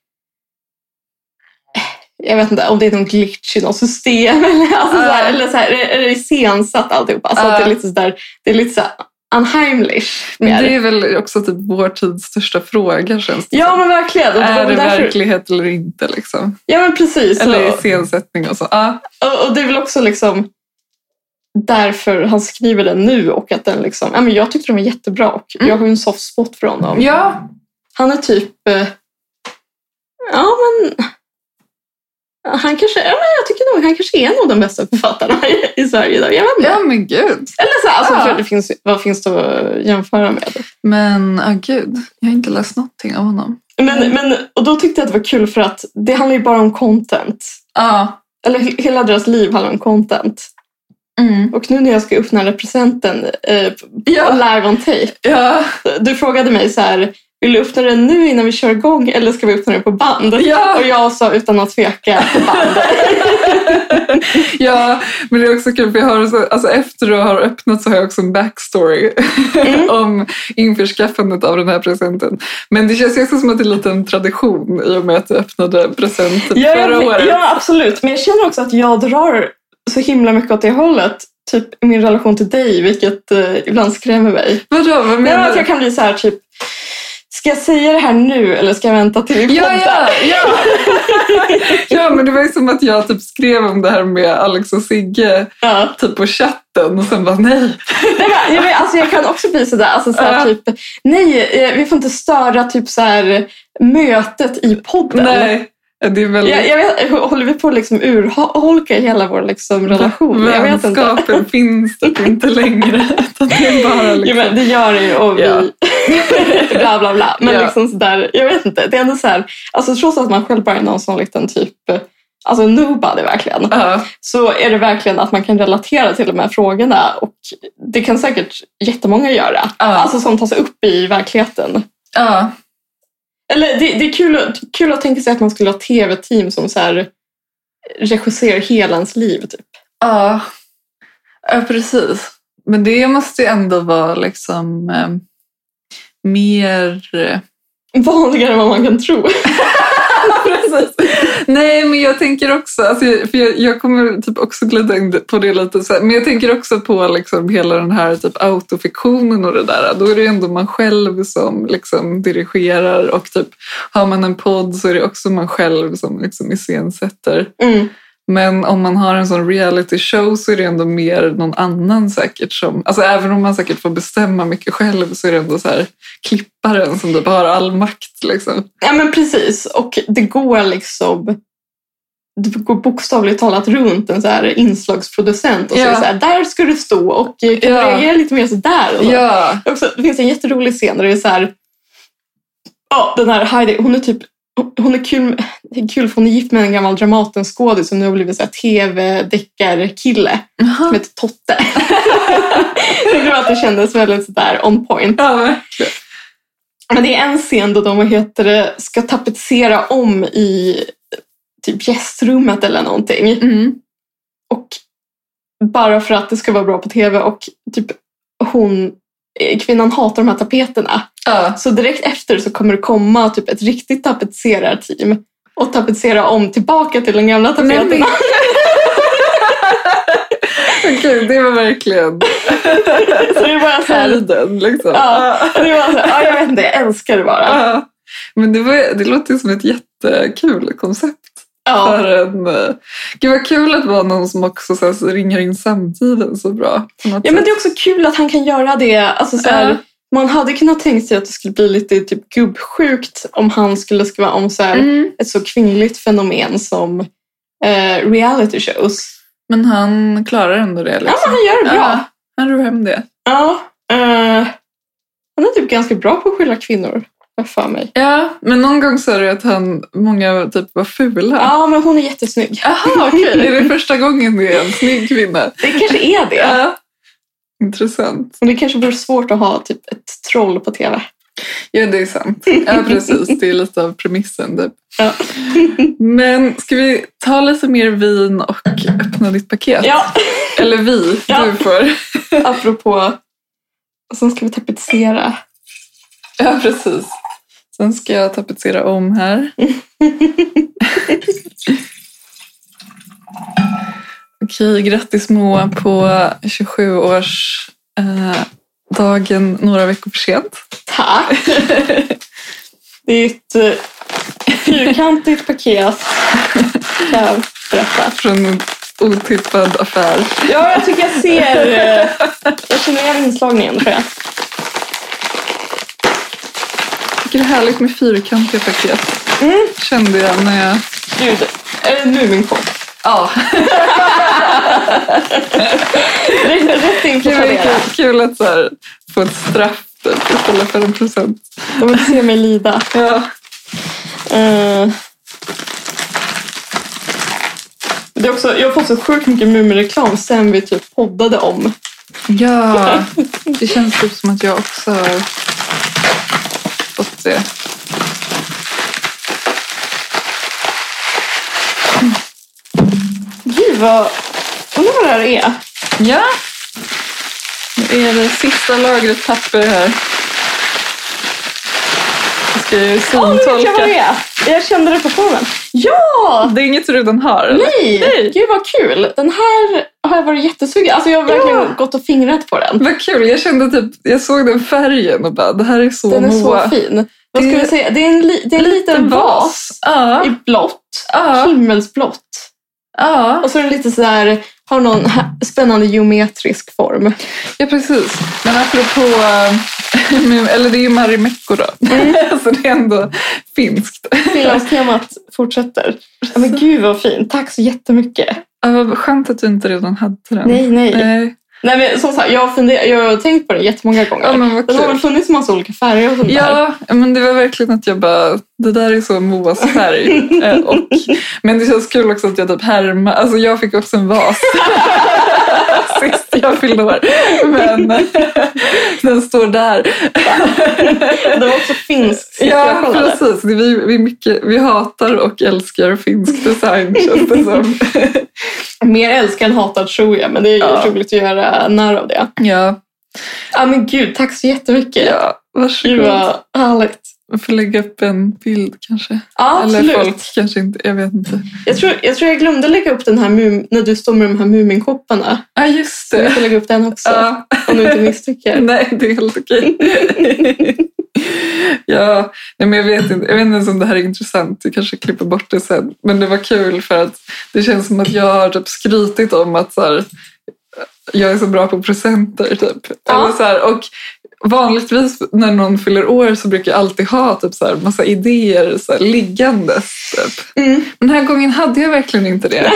C: eh, Jag vet inte om det är någon glitch i något system [laughs] eller, alltså så
B: Ja.
C: här, eller så här, är det iscensatt alltihopa? Alltså att det är
B: Ja.
C: lite sådär, det är lite så här unheimlich.
B: Men
C: mer.
B: det är väl också typ vår tids största fråga känns det
C: Ja
B: som.
C: men verkligen. Och,
B: Är
C: och
B: det
C: därför-
B: verklighet eller inte liksom?
C: Ja men precis.
B: Eller
C: Och,
B: iscensättning och så. Ja,
C: och, och det är väl också liksom därför han skriver den nu och att den liksom, ja men jag tyckte den var jättebra och
B: Mm.
C: jag har ju en soft spot för honom.
B: ja.
C: Han är typ, eh, ja men han kanske, ja, men jag tycker nog han kanske är nog den bästa författaren i, i Sverige idag. Jag vet inte.
B: ja men gud.
C: Eller så, här, alltså,
B: Ja.
C: för det finns, vad finns det att jämföra med?
B: Men ah, gud, jag har inte läst någonting av honom.
C: Men, men, och då tyckte jag att det var kul för att det handlar ju bara om content.
B: Ja.
C: Eller he- hela deras liv handlar om content.
B: Mm.
C: Och nu när jag ska öppna presenten eh, på
B: Ja.
C: live on tape.
B: Ja.
C: Du frågade mig så här, vill du öppna den nu innan vi kör igång eller ska vi öppna den på band?
B: Ja.
C: Och jag sa utan att tveka på [laughs] band.
B: ja, men det är också kul för jag har, så- alltså efter du har öppnat så har jag också en backstory [laughs]
C: Mm.
B: om införskaffandet av den här presenten. Men det känns ju också som att det är lite en tradition i och med att du öppnade present typ
C: ja,
B: förra
C: jag,
B: året.
C: ja, absolut. Men jag känner också att jag drar så himla mycket åt det hållet. Typ i min relation till dig, vilket eh, ibland skrämmer mig.
B: Vadå, vad
C: Men
B: menar
C: att
B: du?
C: jag kan bli så här typ, ska jag säga det här nu eller ska jag vänta till vi
B: Ja,
C: poddar?
B: ja, [laughs] ja. ja, men det var ju som att jag typ skrev om det här med Alex och Sigge
C: Ja.
B: typ på chatten och sen bara nej.
C: Nej, men, jag, vet, alltså, jag kan också bli sådär, alltså, såhär,
B: Ja.
C: typ, nej, eh, vi får inte störa typ, såhär, mötet i podden.
B: nej. Ja, Det är väldigt...
C: Jag, jag vet, håller vi på att liksom urholka hela vår liksom, relation? Jag vet inte.
B: Vänskapen finns typ inte längre. [laughs] Utan det är bara liksom...
C: Jo, men det gör det ju och vi...
B: Ja. [laughs]
C: [laughs] bla bla bla. Men
B: Ja.
C: liksom sådär, jag vet inte. Det är ändå så här, alltså trots att man själv bara är någon sån liten typ, alltså nobody verkligen.
B: Ja,
C: Så är det verkligen att man kan relatera till de här frågorna och det kan säkert jättemånga göra.
B: Ja.
C: Alltså som tas upp i verkligheten.
B: ja,
C: Eller det, det är kul, att- kul att tänka sig att man skulle ha tv-team som så här regisserar hela ens liv. Typ.
B: ja. ja, precis. Men det måste ju ändå vara liksom eh, mer... eh,
C: Vanligare än vad man kan tro.
B: Precis. Nej, men jag tänker också, alltså, jag- för jag, jag kommer typ också glida in på det lite sen, men jag tänker också på liksom hela den här typ autofiktionen och det där. Då är det ju ändå man själv som liksom dirigerar och typ har man en podd så är det också man själv som liksom iscensätter.
C: Mm.
B: Men om man har en sån reality show så är det ändå mer någon annan säkert som, alltså även om man säkert får bestämma mycket själv så är det ändå så här klipparen som typ har all makt liksom.
C: Ja men precis. Och det går liksom det går bokstavligt talat runt en så här inslagsproducent och så,
B: Ja.
C: är det så här, där ska du stå och eh, kan du
B: Ja.
C: reagera lite mer så där. Och så.
B: Ja,
C: Också, det finns en jätterolig scen där det är så här, ja den här Heidi, hon är typ hon är kul, det är kul för hon är gift med en gammal Dramatenskådis som nu har blivit så här tv-deckarkille som heter Totte. [laughs] Jag tror att det kändes väldigt sådär on point.
B: ja verkligen.
C: Men det är en scen då de vad heter det, ska tapetsera om i typ gästrummet eller någonting.
B: Mm.
C: Och bara för att det ska vara bra på tv och typ hon, eh, kvinnan hatar de här tapeterna.
B: Ja.
C: Så direkt efter så kommer det komma typ ett riktigt tapetserarteam och tapetsera om tillbaka till de gamla
B: Nej, men...
C: tapeterna. [laughs]
B: Okej, det var verkligen
C: så det är bara så här,
B: härden liksom.
C: Ja. det är bara så här, ja, jag vet inte, jag älskar det bara.
B: Ja. Men det, var, det låter ju som ett jättekul koncept.
C: Ja.
B: För en, eh, gud vad kul att vara någon som också så här, ringer in samtiden så bra. på något
C: Ja, men
B: sätt.
C: det är också kul att han kan göra det. Alltså, så här,
B: Ja.
C: Man hade kunnat tänka sig att det skulle bli lite typ, gubbsjukt om han skulle skriva om så här,
B: Mm.
C: ett så kvinnligt fenomen som eh, reality shows.
B: Men han klarar ändå det. Liksom.
C: Ja, men han gör det bra.
B: Ja, han ror hem det.
C: Ja. eh, han är typ ganska bra på att skylla kvinnor, har jag för mig.
B: Ja, men någon gång sa du att han, många typ var fula.
C: Ja, men hon är jättesnygg.
B: Jaha, okej. Är det första gången det är en snygg kvinna?
C: [laughs] Det kanske är det.
B: Ja. Intressant.
C: Men det kanske vore svårt att ha typ, ett troll på tv.
B: Ja, det är sant. Ja, precis. Det är lite av premissen. Typ.
C: Ja.
B: Men ska vi ta lite mer vin och öppna ditt paket?
C: Ja,
B: Eller vi,
C: Ja.
B: du får.
C: apropå... Och sen ska vi tapetsera.
B: [laughs] Ja, precis. Sen ska jag tapetsera om här. [laughs] Okej, grattis Moa på 27-årsdagen eh, dagen några veckor för sent.
C: Tack! [laughs] Det är ett eh, fyrkantigt paket, kan jag berätta.
B: Från en otippad affär.
C: Ja, jag tycker jag ser... eh, Jag känner igen inslagningen, tror jag.
B: Tycker det är härligt med fyrkantiga paket.
C: Mm.
B: Kände jag när jag...
C: Gud, är det Muminkoll?
B: Ja,
C: Rätt, rätt in
B: [laughs]
C: på
B: det var ju
C: Tradera.
B: kul, kul att så här, få ett straff typ, istället för en present.
C: De vill se mig lida.
B: Ja.
C: Eh, Det är också, jag har fått så sjukt mycket Muminreklam sen vi typ poddade om.
B: ja, det känns typ som att jag också har fått det.
C: Gud, vad... Undrar vad det här är.
B: Ja, nu är det sista lagret papper här. Jag ska ju
C: Åh, nu vet jag vad det
B: syntolka.
C: är. Jag kände det på formen. Ja!
B: Det är inget du redan har? eller?
C: Nej!
B: Nej.
C: Gud vad kul! Den här har jag varit jättesugen Alltså jag har verkligen
B: Ja.
C: gått och fingrat på den.
B: Vad kul, jag kände typ, jag såg den färgen och bara, det här är så
C: Den är
B: Moa.
C: så fin. Vad
B: Det-
C: ska vi säga? Det är en, li- det är en liten vas
B: Ja,
C: i blått.
B: ja,
C: Himmelsblått.
B: ja.
C: Och så är den lite så här, har någon här, spännande geometrisk form.
B: Ja, precis. [laughs] Mm. [laughs] Men apropå... eh, eller det är ju Marimekko då. så det är ändå finskt.
C: Finlandstemat fortsätter. Ja, men gud vad fint. Tack så jättemycket.
B: Ja, vad skönt att du inte redan hade den.
C: Nej, nej.
B: Nej.
C: Nej, men som sagt, jag, har funder- jag har tänkt på det jättemånga gånger.
B: Ja, men vad
C: det har väl
B: kul.
C: funnits massa olika färger och sånt där.
B: Ja, men det var verkligen att jag bara, det där är så Moas färg.
C: [laughs]
B: Eh, och, men det känns kul också att jag typ härmar, alltså jag fick också en vas [laughs] sist jag fyllde år. Men [laughs] den står där. [laughs]
C: Det var också finskt sist jag
B: Ja,
C: kollade.
B: precis. Det- Vi, vi, är mycket, vi hatar och älskar finsk
C: [laughs]
B: design känns det som.
C: Mer älskar än hatar tror jag, men det är ju
B: Ja.
C: roligt att göra narr av det.
B: Ja,
C: Ja, men gud, tack så jättemycket.
B: ja
C: Gud
B: varsågod.
C: vad härligt.
B: Jag får lägga upp en bild kanske.
C: Ja,
B: Eller
C: absolut.
B: folk kanske inte, jag vet inte.
C: Jag tror, jag tror jag glömde lägga upp den här mum- när du står med de här Muminkopparna.
B: Ja, ah, just
C: Så vi
B: det.
C: får lägga upp den också,
B: Ja. [laughs]
C: om du inte misstycker.
B: Nej, det är helt okej. ja, nej, men jag vet inte, jag vet inte ens om det här är intressant. Du kanske klipper bort det sen. Men det var kul för att det känns som att jag har typ skrytit om att så här, jag är så bra på presenter. Typ.
C: Ja.
B: Eller så här, och vanligtvis när någon fyller år så brukar jag alltid ha typ så här, massa idéer så här, liggandes. Typ.
C: Mm.
B: Men den här gången hade jag verkligen inte
C: [laughs]
B: det.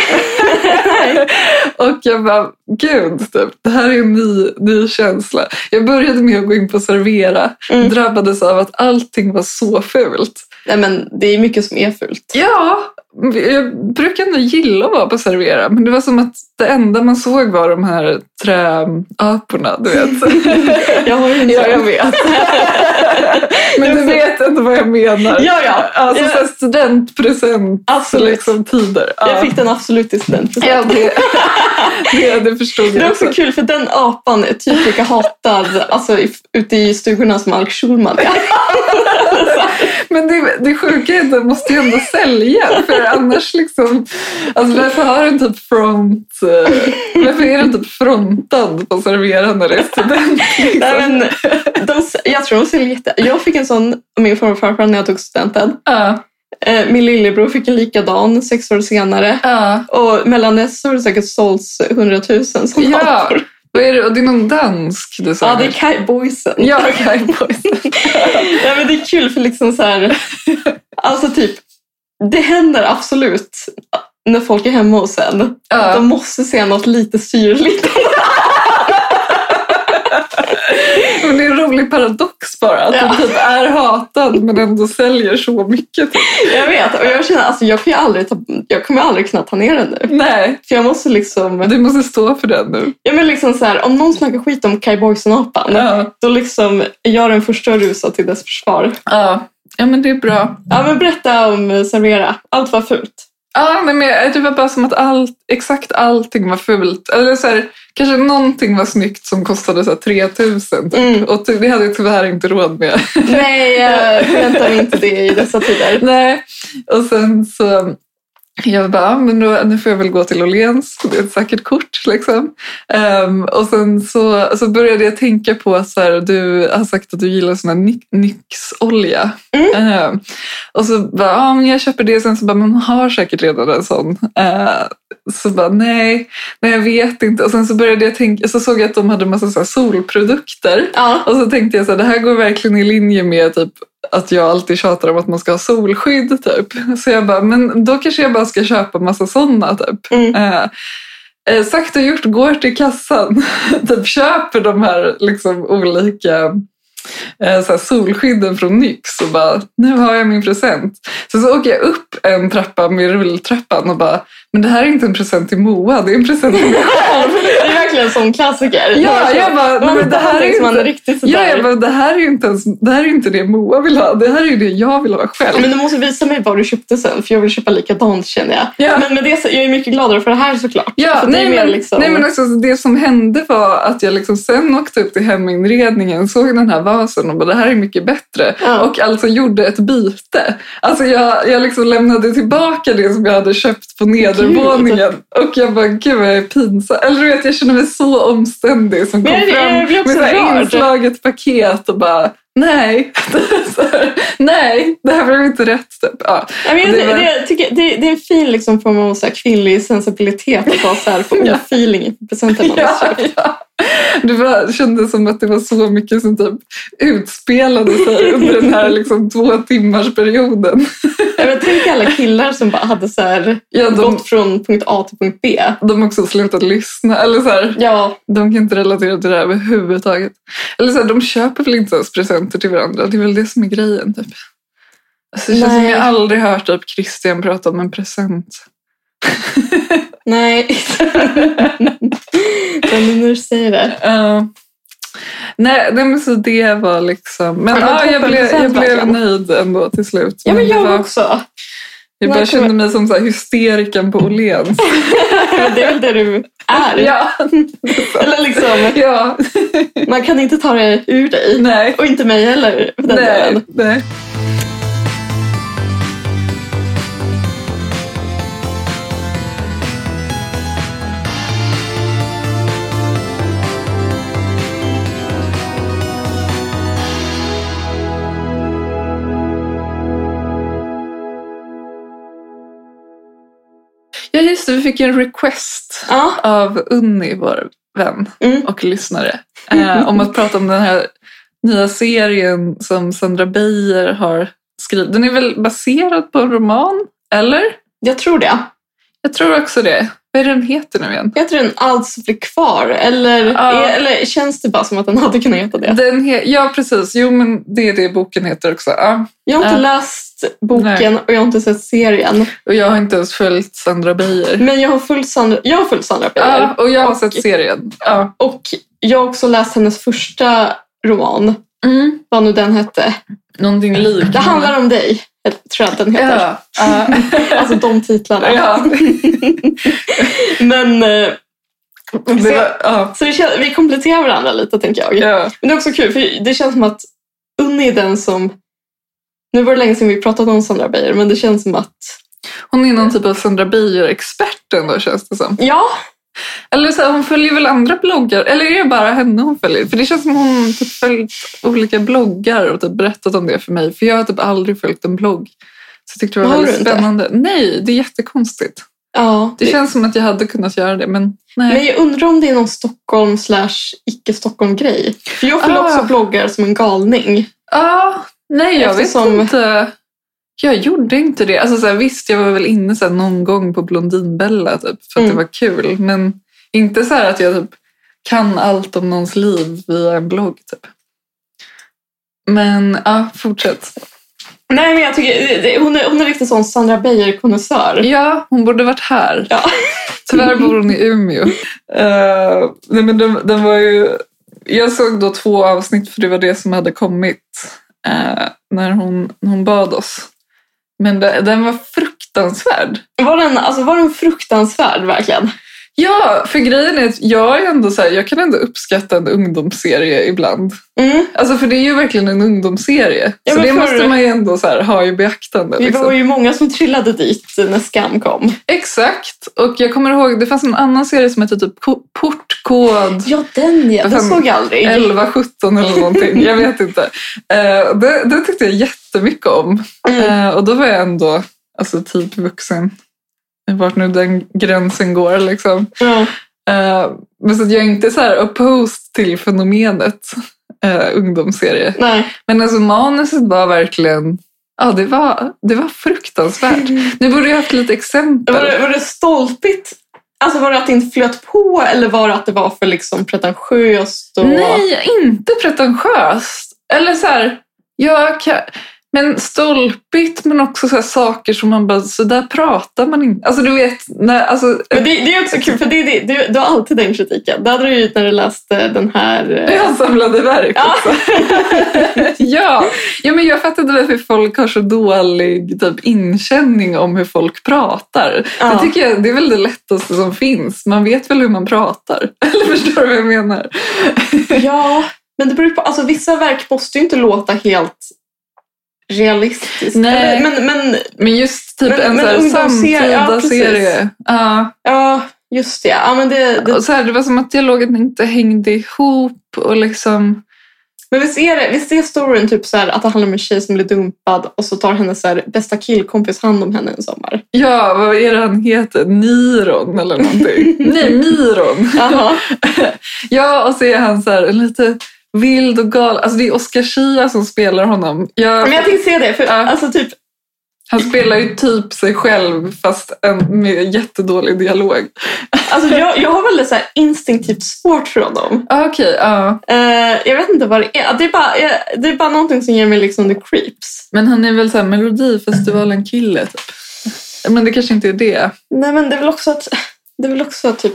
B: och jag bara, gud, typ, det här är en ny, ny känsla. Jag började med att gå in på Servera,
C: Mm.
B: drabbades av att allting var så fult.
C: Nej, men det är mycket som är fult.
B: Ja, jag brukar ändå gilla att vara på Servera, men det var som att det enda man såg var de här träaporna, du
C: [laughs]
B: vet.
C: Jag har ju en sån.
B: vet. [laughs] men du vet ändå vad jag menar.
C: Ja, ja.
B: Alltså
C: Ja.
B: så här studentpresent,
C: Absolut.
B: liksom tider. Ja.
C: Jag fick den absolut i studentpresent.
B: Ja, det, [laughs] det, det förstod
C: Det är
B: jag också.
C: också kul för den apan är typ lika hatad alltså, i- ute i stugorna som Alex
B: [laughs]
C: Schulman är.
B: Men det, det sjuka är att den måste ju ändå sälja. För annars liksom... Alltså varför har den typ front... eh, Varför är den typ frontad på servera när det är student? Liksom?
C: [laughs] Nej, men, de, jag tror de säljer jätte... Jag fick en sån av min farmor och farfar när jag tog studenten.
B: Ja,
C: Eh, Min lillebror fick en likadan sex år senare.
B: ja,
C: Och mellan dess så har det säkert sålts hundratusen sådana
B: ja.
C: apor.
B: Vad är det? Och det är någon dansk du sa?
C: Ja, det är Kai Boysen.
B: Ja,
C: [laughs]
B: Kai Boysen.
C: Nej, men det är kul för liksom så här... Alltså typ, det händer absolut när folk är hemma hos en.
B: Ja.
C: De måste se något lite syrligt.
B: Men det är en rolig paradox bara. Att den typ är hatad men ändå säljer så mycket. Typ.
C: Jag vet, och jag känner alltså jag, kan ju aldrig ta, jag kommer aldrig kunna ta ner den nu.
B: Nej,
C: För jag måste liksom,
B: du måste stå för den nu.
C: ja men liksom så här, om någon snackar skit om Kai Boysen-apan,
B: Ja,
C: då liksom är jag den första att rusa till dess försvar.
B: ja. ja men det är bra.
C: Ja men berätta om eh, Servera, allt var fult.
B: Ja, nej, men jag- det var bara som att allt, exakt allting var fult. Eller så här, kanske någonting var snyggt som kostade så här 3000 typ.
C: Mm.
B: Och det hade jag tyvärr inte råd med.
C: Nej,
B: [laughs]
C: jag förväntar mig inte det i dessa tider.
B: nej. Och sen så... Jag bara, ah, men då, nu får jag väl gå till Åhléns, det är ett säkert kort. Liksom. Ehm, och sen så, så började jag tänka på att så här, du har sagt att du gillar sån här ny- nyxolja.
C: Mm.
B: Ehm, och så bara, ja men jag köper det. Sen så bara, man har säkert redan en sån. Eh, så bara, nej, nej jag vet inte. Och sen så började jag tänka, så såg jag att de hade massa så här solprodukter.
C: Ja, [laughs]
B: Och så tänkte jag så här, det här går verkligen i linje med typ att jag alltid tjatar om att man ska ha solskydd. Typ. Så jag bara, men då kanske jag bara ska köpa massa sådana. Typ.
C: Mm.
B: Eh, eh, sagt och gjort, går till kassan, [laughs] typ köper de här liksom, olika eh, så här, solskydden från Nyx och bara, nu har jag min present. Sen så åker jag upp en trappa med rulltrappan och bara, men det här är inte en present till Moa, det är en present till mig själv.
C: det är verkligen en sån klassiker.
B: ja, jag bara, nej,
C: man
B: men det här är
C: inte... Man
B: inte...
C: är riktigt
B: Ja,
C: sådär.
B: jag bara, det här är ju inte, ens, det här är ju inte det Moa vill ha. Det här är ju det jag vill ha själv.
C: Men du måste visa mig vad du köpte sen, för jag vill köpa likadant känner jag.
B: Ja.
C: Men med det så, jag är mycket gladare för det här såklart.
B: ja,
C: för det
B: nej,
C: är mer
B: men,
C: liksom...
B: nej, men alltså, det som hände var att jag liksom sen åkte upp till heminredningen, såg den här vasen och bara, det här är mycket bättre.
C: Ja.
B: Och alltså gjorde ett byte. Alltså jag, jag liksom lämnade tillbaka det som jag hade köpt på nedervåningen. Och jag bara, gud vad jag är pinsam. Eller du vet, jag känner mig så omständig som
C: Men
B: kom
C: jag- jag
B: fram
C: blir
B: med
C: också
B: så här
C: rörd.
B: inslaget paket och bara, nej, [laughs] så här, nej, det här blev inte rätt. Typ. Ja.
C: Ja, men jag,
B: Det
C: det,
B: var-
C: jag tycker, det, det är en fin liksom, form av så här, kvinnlig sensibilitet att ha så här, få
B: [laughs] Ja.
C: feeling i presenten man har
B: Ja,
C: köpt.
B: ja. Det var, kändes som att det var så mycket som typ utspelade sig under den här liksom två timmars perioden.
C: Ja, men Tänk alla killar som bara hade så här,
B: Ja, de,
C: gått från punkt A till punkt B.
B: de har också slutat lyssna. Eller så här,
C: Ja,
B: de kan inte relatera till det här överhuvudtaget. Eller så här, de köper väl inte ens presenter till varandra. Det är väl det som är grejen. Typ. Alltså, det känns som
C: Nej.
B: jag aldrig hört typ Christian prata om en present. [laughs]
C: nej. Men nu säger det.
B: Ja. Eh, nej, nej, men så det var liksom... Men
C: Ja,
B: ja, jag, blev, jag
C: toppenpresent
B: blev
C: verkligen.
B: nöjd ändå till slut.
C: Ja, men
B: det var-
C: jag också.
B: Jag bara
C: Nej,
B: kände mig som så här hysteriken på Åhléns.
C: [laughs] Men Det är väl det du är.
B: Ja,
C: Eller liksom,
B: ja,
C: man kan inte ta det ur dig.
B: nej,
C: Och inte mig heller, för den
B: nej,
C: delen.
B: nej. Ja, just det, vi fick en request
C: Ja,
B: av Unni, vår vän
C: Mm.
B: och lyssnare, eh, om att prata om den här nya serien som Sandra Beijer har skrivit. Den är väl baserad på en roman, eller?
C: jag tror det.
B: Jag tror också det. Vad är det den heter nu igen?
C: Heter den Allt som blir kvar? Eller,
B: Ja.
C: är, eller känns det bara som att den hade kunnat heta det?
B: Den he- ja, precis. Jo, men det är det boken heter också. Ja.
C: Jag har inte
B: Ja.
C: läst boken
B: Äh, Nej.
C: och jag har inte sett serien.
B: Och jag har inte ens följt Sandra Beijer.
C: Men jag har följt Sandra, jag har följt Sandra Beijer.
B: Ja, och jag har
C: Och-
B: sett serien. Ja.
C: Och jag har också läst hennes första roman,
B: Mm.
C: vad nu den hette.
B: Någonting liknande.
C: Det handlar om dig, tror jag att den heter.
B: Ja. Mm. ja.
C: [laughs] Alltså de [laughs] titlarna.
B: Ja.
C: Men, eh,
B: Det var, ja.
C: så det kän- vi kompletterar varandra lite tänker jag.
B: Ja.
C: Men det är också kul för det känns som att Unni är den som... Nu var det länge sedan vi pratade om Sandra Beijer men det känns som att...
B: Hon är någon typ av Sandra Beijer-expert ändå känns det som.
C: Ja,
B: Eller så här, hon följer väl andra bloggar? Eller är det bara henne hon följer? För det känns som hon typ följt olika bloggar och typ berättat om det för mig. För jag har typ aldrig följt en blogg. Så jag tyckte det var
C: Har du
B: väldigt
C: inte?
B: spännande. Nej, det är jättekonstigt.
C: ja
B: Det känns som att jag hade kunnat göra det, men nej.
C: Men jag undrar om det är någon Stockholm slash icke-Stockholm-grej. För jag följer
B: Ah.
C: också bloggar som en galning.
B: Ja, nej, jag
C: Eftersom-
B: vet inte. Jag gjorde inte det. Alltså, så här, visst, jag var väl inne så här, någon gång på Blondinbella typ, för att
C: Mm.
B: det var kul. Men inte så här att jag typ, kan allt om någons liv via en blogg. Typ. Men ja, fortsätt.
C: Nej, men jag tycker det- det- hon är, hon är riktigt sån Sandra Beijer-konnässör.
B: Ja, hon borde varit här.
C: Ja.
B: Tyvärr bor hon i Umeå. Eh, nej, men den, den var ju... Jag såg då två avsnitt för det var det som hade kommit eh, när hon, hon bad oss. Men de- den var fruktansvärd.
C: Var den, alltså, var den fruktansvärd verkligen?
B: Ja, för grejen är att jag är ändå så här, jag kan ändå uppskatta en ungdomsserie ibland.
C: Mm.
B: Alltså för det är ju verkligen en ungdomsserie.
C: Ja,
B: så
C: men
B: det
C: förr-
B: måste man ju ändå så här, ha i beaktande.
C: Vi
B: liksom.
C: var ju många som trillade dit när Skam kom.
B: Exakt. Och jag kommer ihåg, det fanns en annan serie som hette typ Ko- Portkod.
C: Ja, den ja. Den
B: Fan,
C: såg jag aldrig.
B: 11, 17 eller någonting. Jag vet inte. Eh, det, det tyckte jag jättemycket om.
C: Mm.
B: Eh, och då var jag ändå alltså, typ vuxen. Vart nu den gränsen går liksom.
C: Ja.
B: Eh, men så att jag är inte så här opposed till fenomenet eh, ungdomsserie.
C: Nej.
B: Men alltså manuset var verkligen, ja det var, det var fruktansvärt. Nu borde jag haft lite
C: Var
B: exempel.
C: det, var det stolpigt? Alltså var det att det inte flöt på eller var det att det var för liksom pretentiöst? Och...
B: Nej, inte pretentiöst. Eller så här, jag kan, men stolpigt men också så här saker som man bara, så där pratar man inte. Alltså du vet, när, alltså,
C: Men det, det är också kul, för det, det, du, du har alltid den kritiken. Det hade du ju när du läste den här... eh,
B: jag samlade verk
C: Ja.
B: också. [laughs] ja. ja, men jag fattar inte varför folk har så dålig typ, inkänning om hur folk pratar.
C: Ja.
B: Det tycker jag det är väl det lättaste som finns. Man vet väl hur man pratar. [laughs] Eller förstår du vad jag menar?
C: Ja, men det beror ju på. Alltså, vissa verk måste ju inte låta helt realistiskt.
B: Nej.
C: Eller, Men, men
B: Men just typ
C: Men-
B: en
C: men
B: så här,
C: ungdomsserie,
B: samtida
C: ja, precis.
B: serie. Ja.
C: ja, just det.
B: Alltså-
C: Ja, men det, det
B: Och så här, det var som att dialogen inte hängde ihop och liksom...
C: Men visst är, det, visst är storyn typ så här att det handlar om en tjej som blir dumpad och så tar hennes så här bästa killkompis hand om henne en sommar.
B: Ja, vad är det han heter? Niron eller
C: [laughs]
B: någonting? Nej, Miron. [laughs]
C: Jaha.
B: Ja, och så är han så här lite vild och galen. Alltså det är Oscar Schia som spelar honom. Jag,
C: Men jag tänkte se det, för
B: Ja.
C: alltså typ
B: Han spelar ju typ sig själv fast en, med jättedålig dialog.
C: Alltså jag, jag har väldigt så här instinktivt svårt för honom.
B: Ah, Okej, ja.
C: Eh, jag vet inte vad det är. Det är bara, jag- det är bara någonting som ger mig liksom the creeps.
B: Men han är väl såhär Melodifestivalen-kille typ. Men det kanske inte är det.
C: Nej men det är väl också att, det är väl också att typ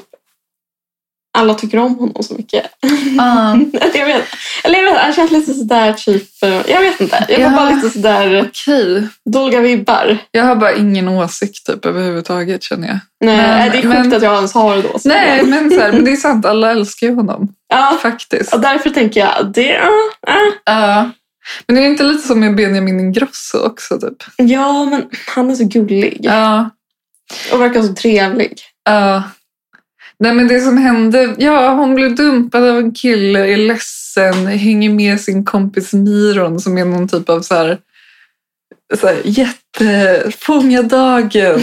C: alla tycker om honom så mycket. [laughs]
B: Ah,
C: Eller jag vet, eller jag vet han känns lite sådär typ, eh, jag vet inte. Jag får
B: Ja.
C: bara lite sådär
B: Okej.
C: dåliga vibbar.
B: Jag har bara ingen åsikt typ överhuvudtaget känner jag.
C: Nej, eh,
B: Men-
C: det är sjukt
B: men-
C: att jag ens har det då. så.
B: Nej, men, så här, men det är sant. Alla älskar ju honom.
C: Ja,
B: Faktiskt.
C: och därför tänker jag, det, eh, eh.
B: Ja. Men det är inte lite som med Benjamin Ingrosso också typ?
C: ja men han är så gullig
B: Ja.
C: och verkar
B: [laughs]
C: så trevlig.
B: Ja. Nej men det som hände, ja hon blev dumpad av en kille, är ledsen, hänger med sin kompis Miron som är någon typ av så här, så här jätte, fånga
C: [laughs]
B: dagen.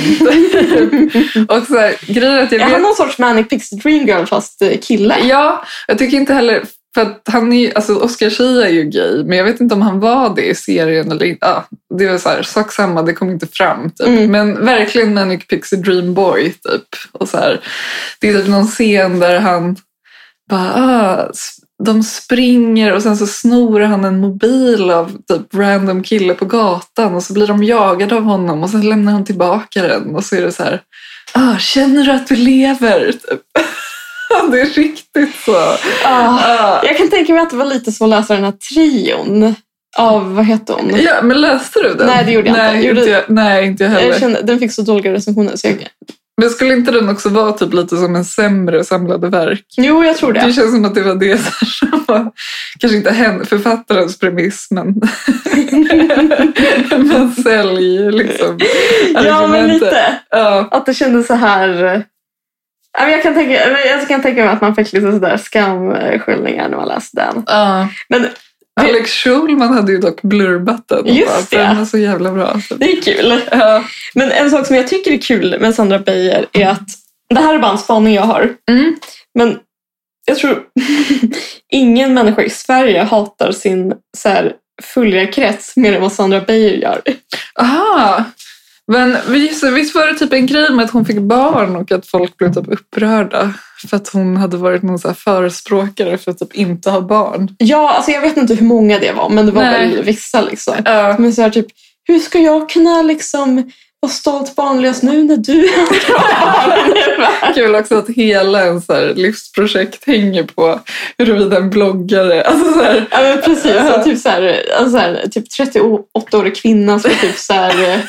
B: och så här, grejen är att jag
C: Är
B: vet...
C: han någon sorts Manic Pixie Dream Girl fast eh, kille?
B: Ja, jag tycker inte heller... För att han är, ju- alltså Oscar Schia är ju gay, men jag vet inte om han var det i serien eller inte. Ah, det var så här, sak samma, det kom inte fram. Typ.
C: Mm.
B: Men verkligen Manic Pixie Dream Boy, typ. Och så här, det är typ någon scen där han bara, ah, s- de springer och sen så snor han en mobil av typ random kille på gatan och så blir de jagade av honom och sen lämnar han tillbaka den och så är det så här, ah, känner du att du lever? Typ. [laughs] det är riktigt så.
C: Ah,
B: Ah.
C: jag kan tänka mig att det var lite så att läsa den här trion av, vad heter hon?
B: Ja, men läste du den?
C: Mm. Nej, det gjorde jag
B: nej,
C: inte. Gjorde
B: jag. Nej, inte jag
C: Jag
B: heller.
C: kände, den fick så dåliga recensioner. Så jag,
B: Men skulle inte den också vara typ lite som en sämre samlade verk?
C: jo, jag tror
B: Det
C: det.
B: känns som att det var det [laughs] som var, kanske inte hen, författarens premiss,
C: [laughs]
B: men, men sälj liksom.
C: ja, men
B: argumentet.
C: lite.
B: Ja,
C: Att det kändes så här... eh, ja, men Jag kan, tänka, men jag kan tänka mig att man fick lite sådär skamskyllningar när man läste den.
B: ja.
C: Men
B: Alex Schulman hade ju dock blurbat den. och
C: Just
B: bara,
C: det.
B: Den var så jävla bra. Så-
C: det är kul.
B: Ja.
C: Men en sak som jag tycker är kul med Sandra Beijer är att... Det här är bara en spaning jag har.
B: Mm.
C: Men
B: [laughs]
C: jag tror ingen människa i Sverige hatar sin så här, följarkrets mer än vad Sandra Beijer gör.
B: Aha. Men visst, visst var det typ en grej med att hon fick barn och att folk blev typ upprörda för att hon hade varit någon så här förespråkare för att typ inte ha barn.
C: Ja, alltså jag vet inte hur många det var, men det var
B: Nej.
C: väl vissa liksom.
B: [laughs] Ja.
C: Men så här, typ, hur ska jag kunna liksom vara stolt barnlös nu när du har barn?
B: Kul också att hela ens så här livsprojekt hänger på huruvida en bloggare... Alltså så här,
C: Ja, men precis. Så typ så här, alltså så här, typ 38-årig kvinna ska typ så här,
B: [laughs]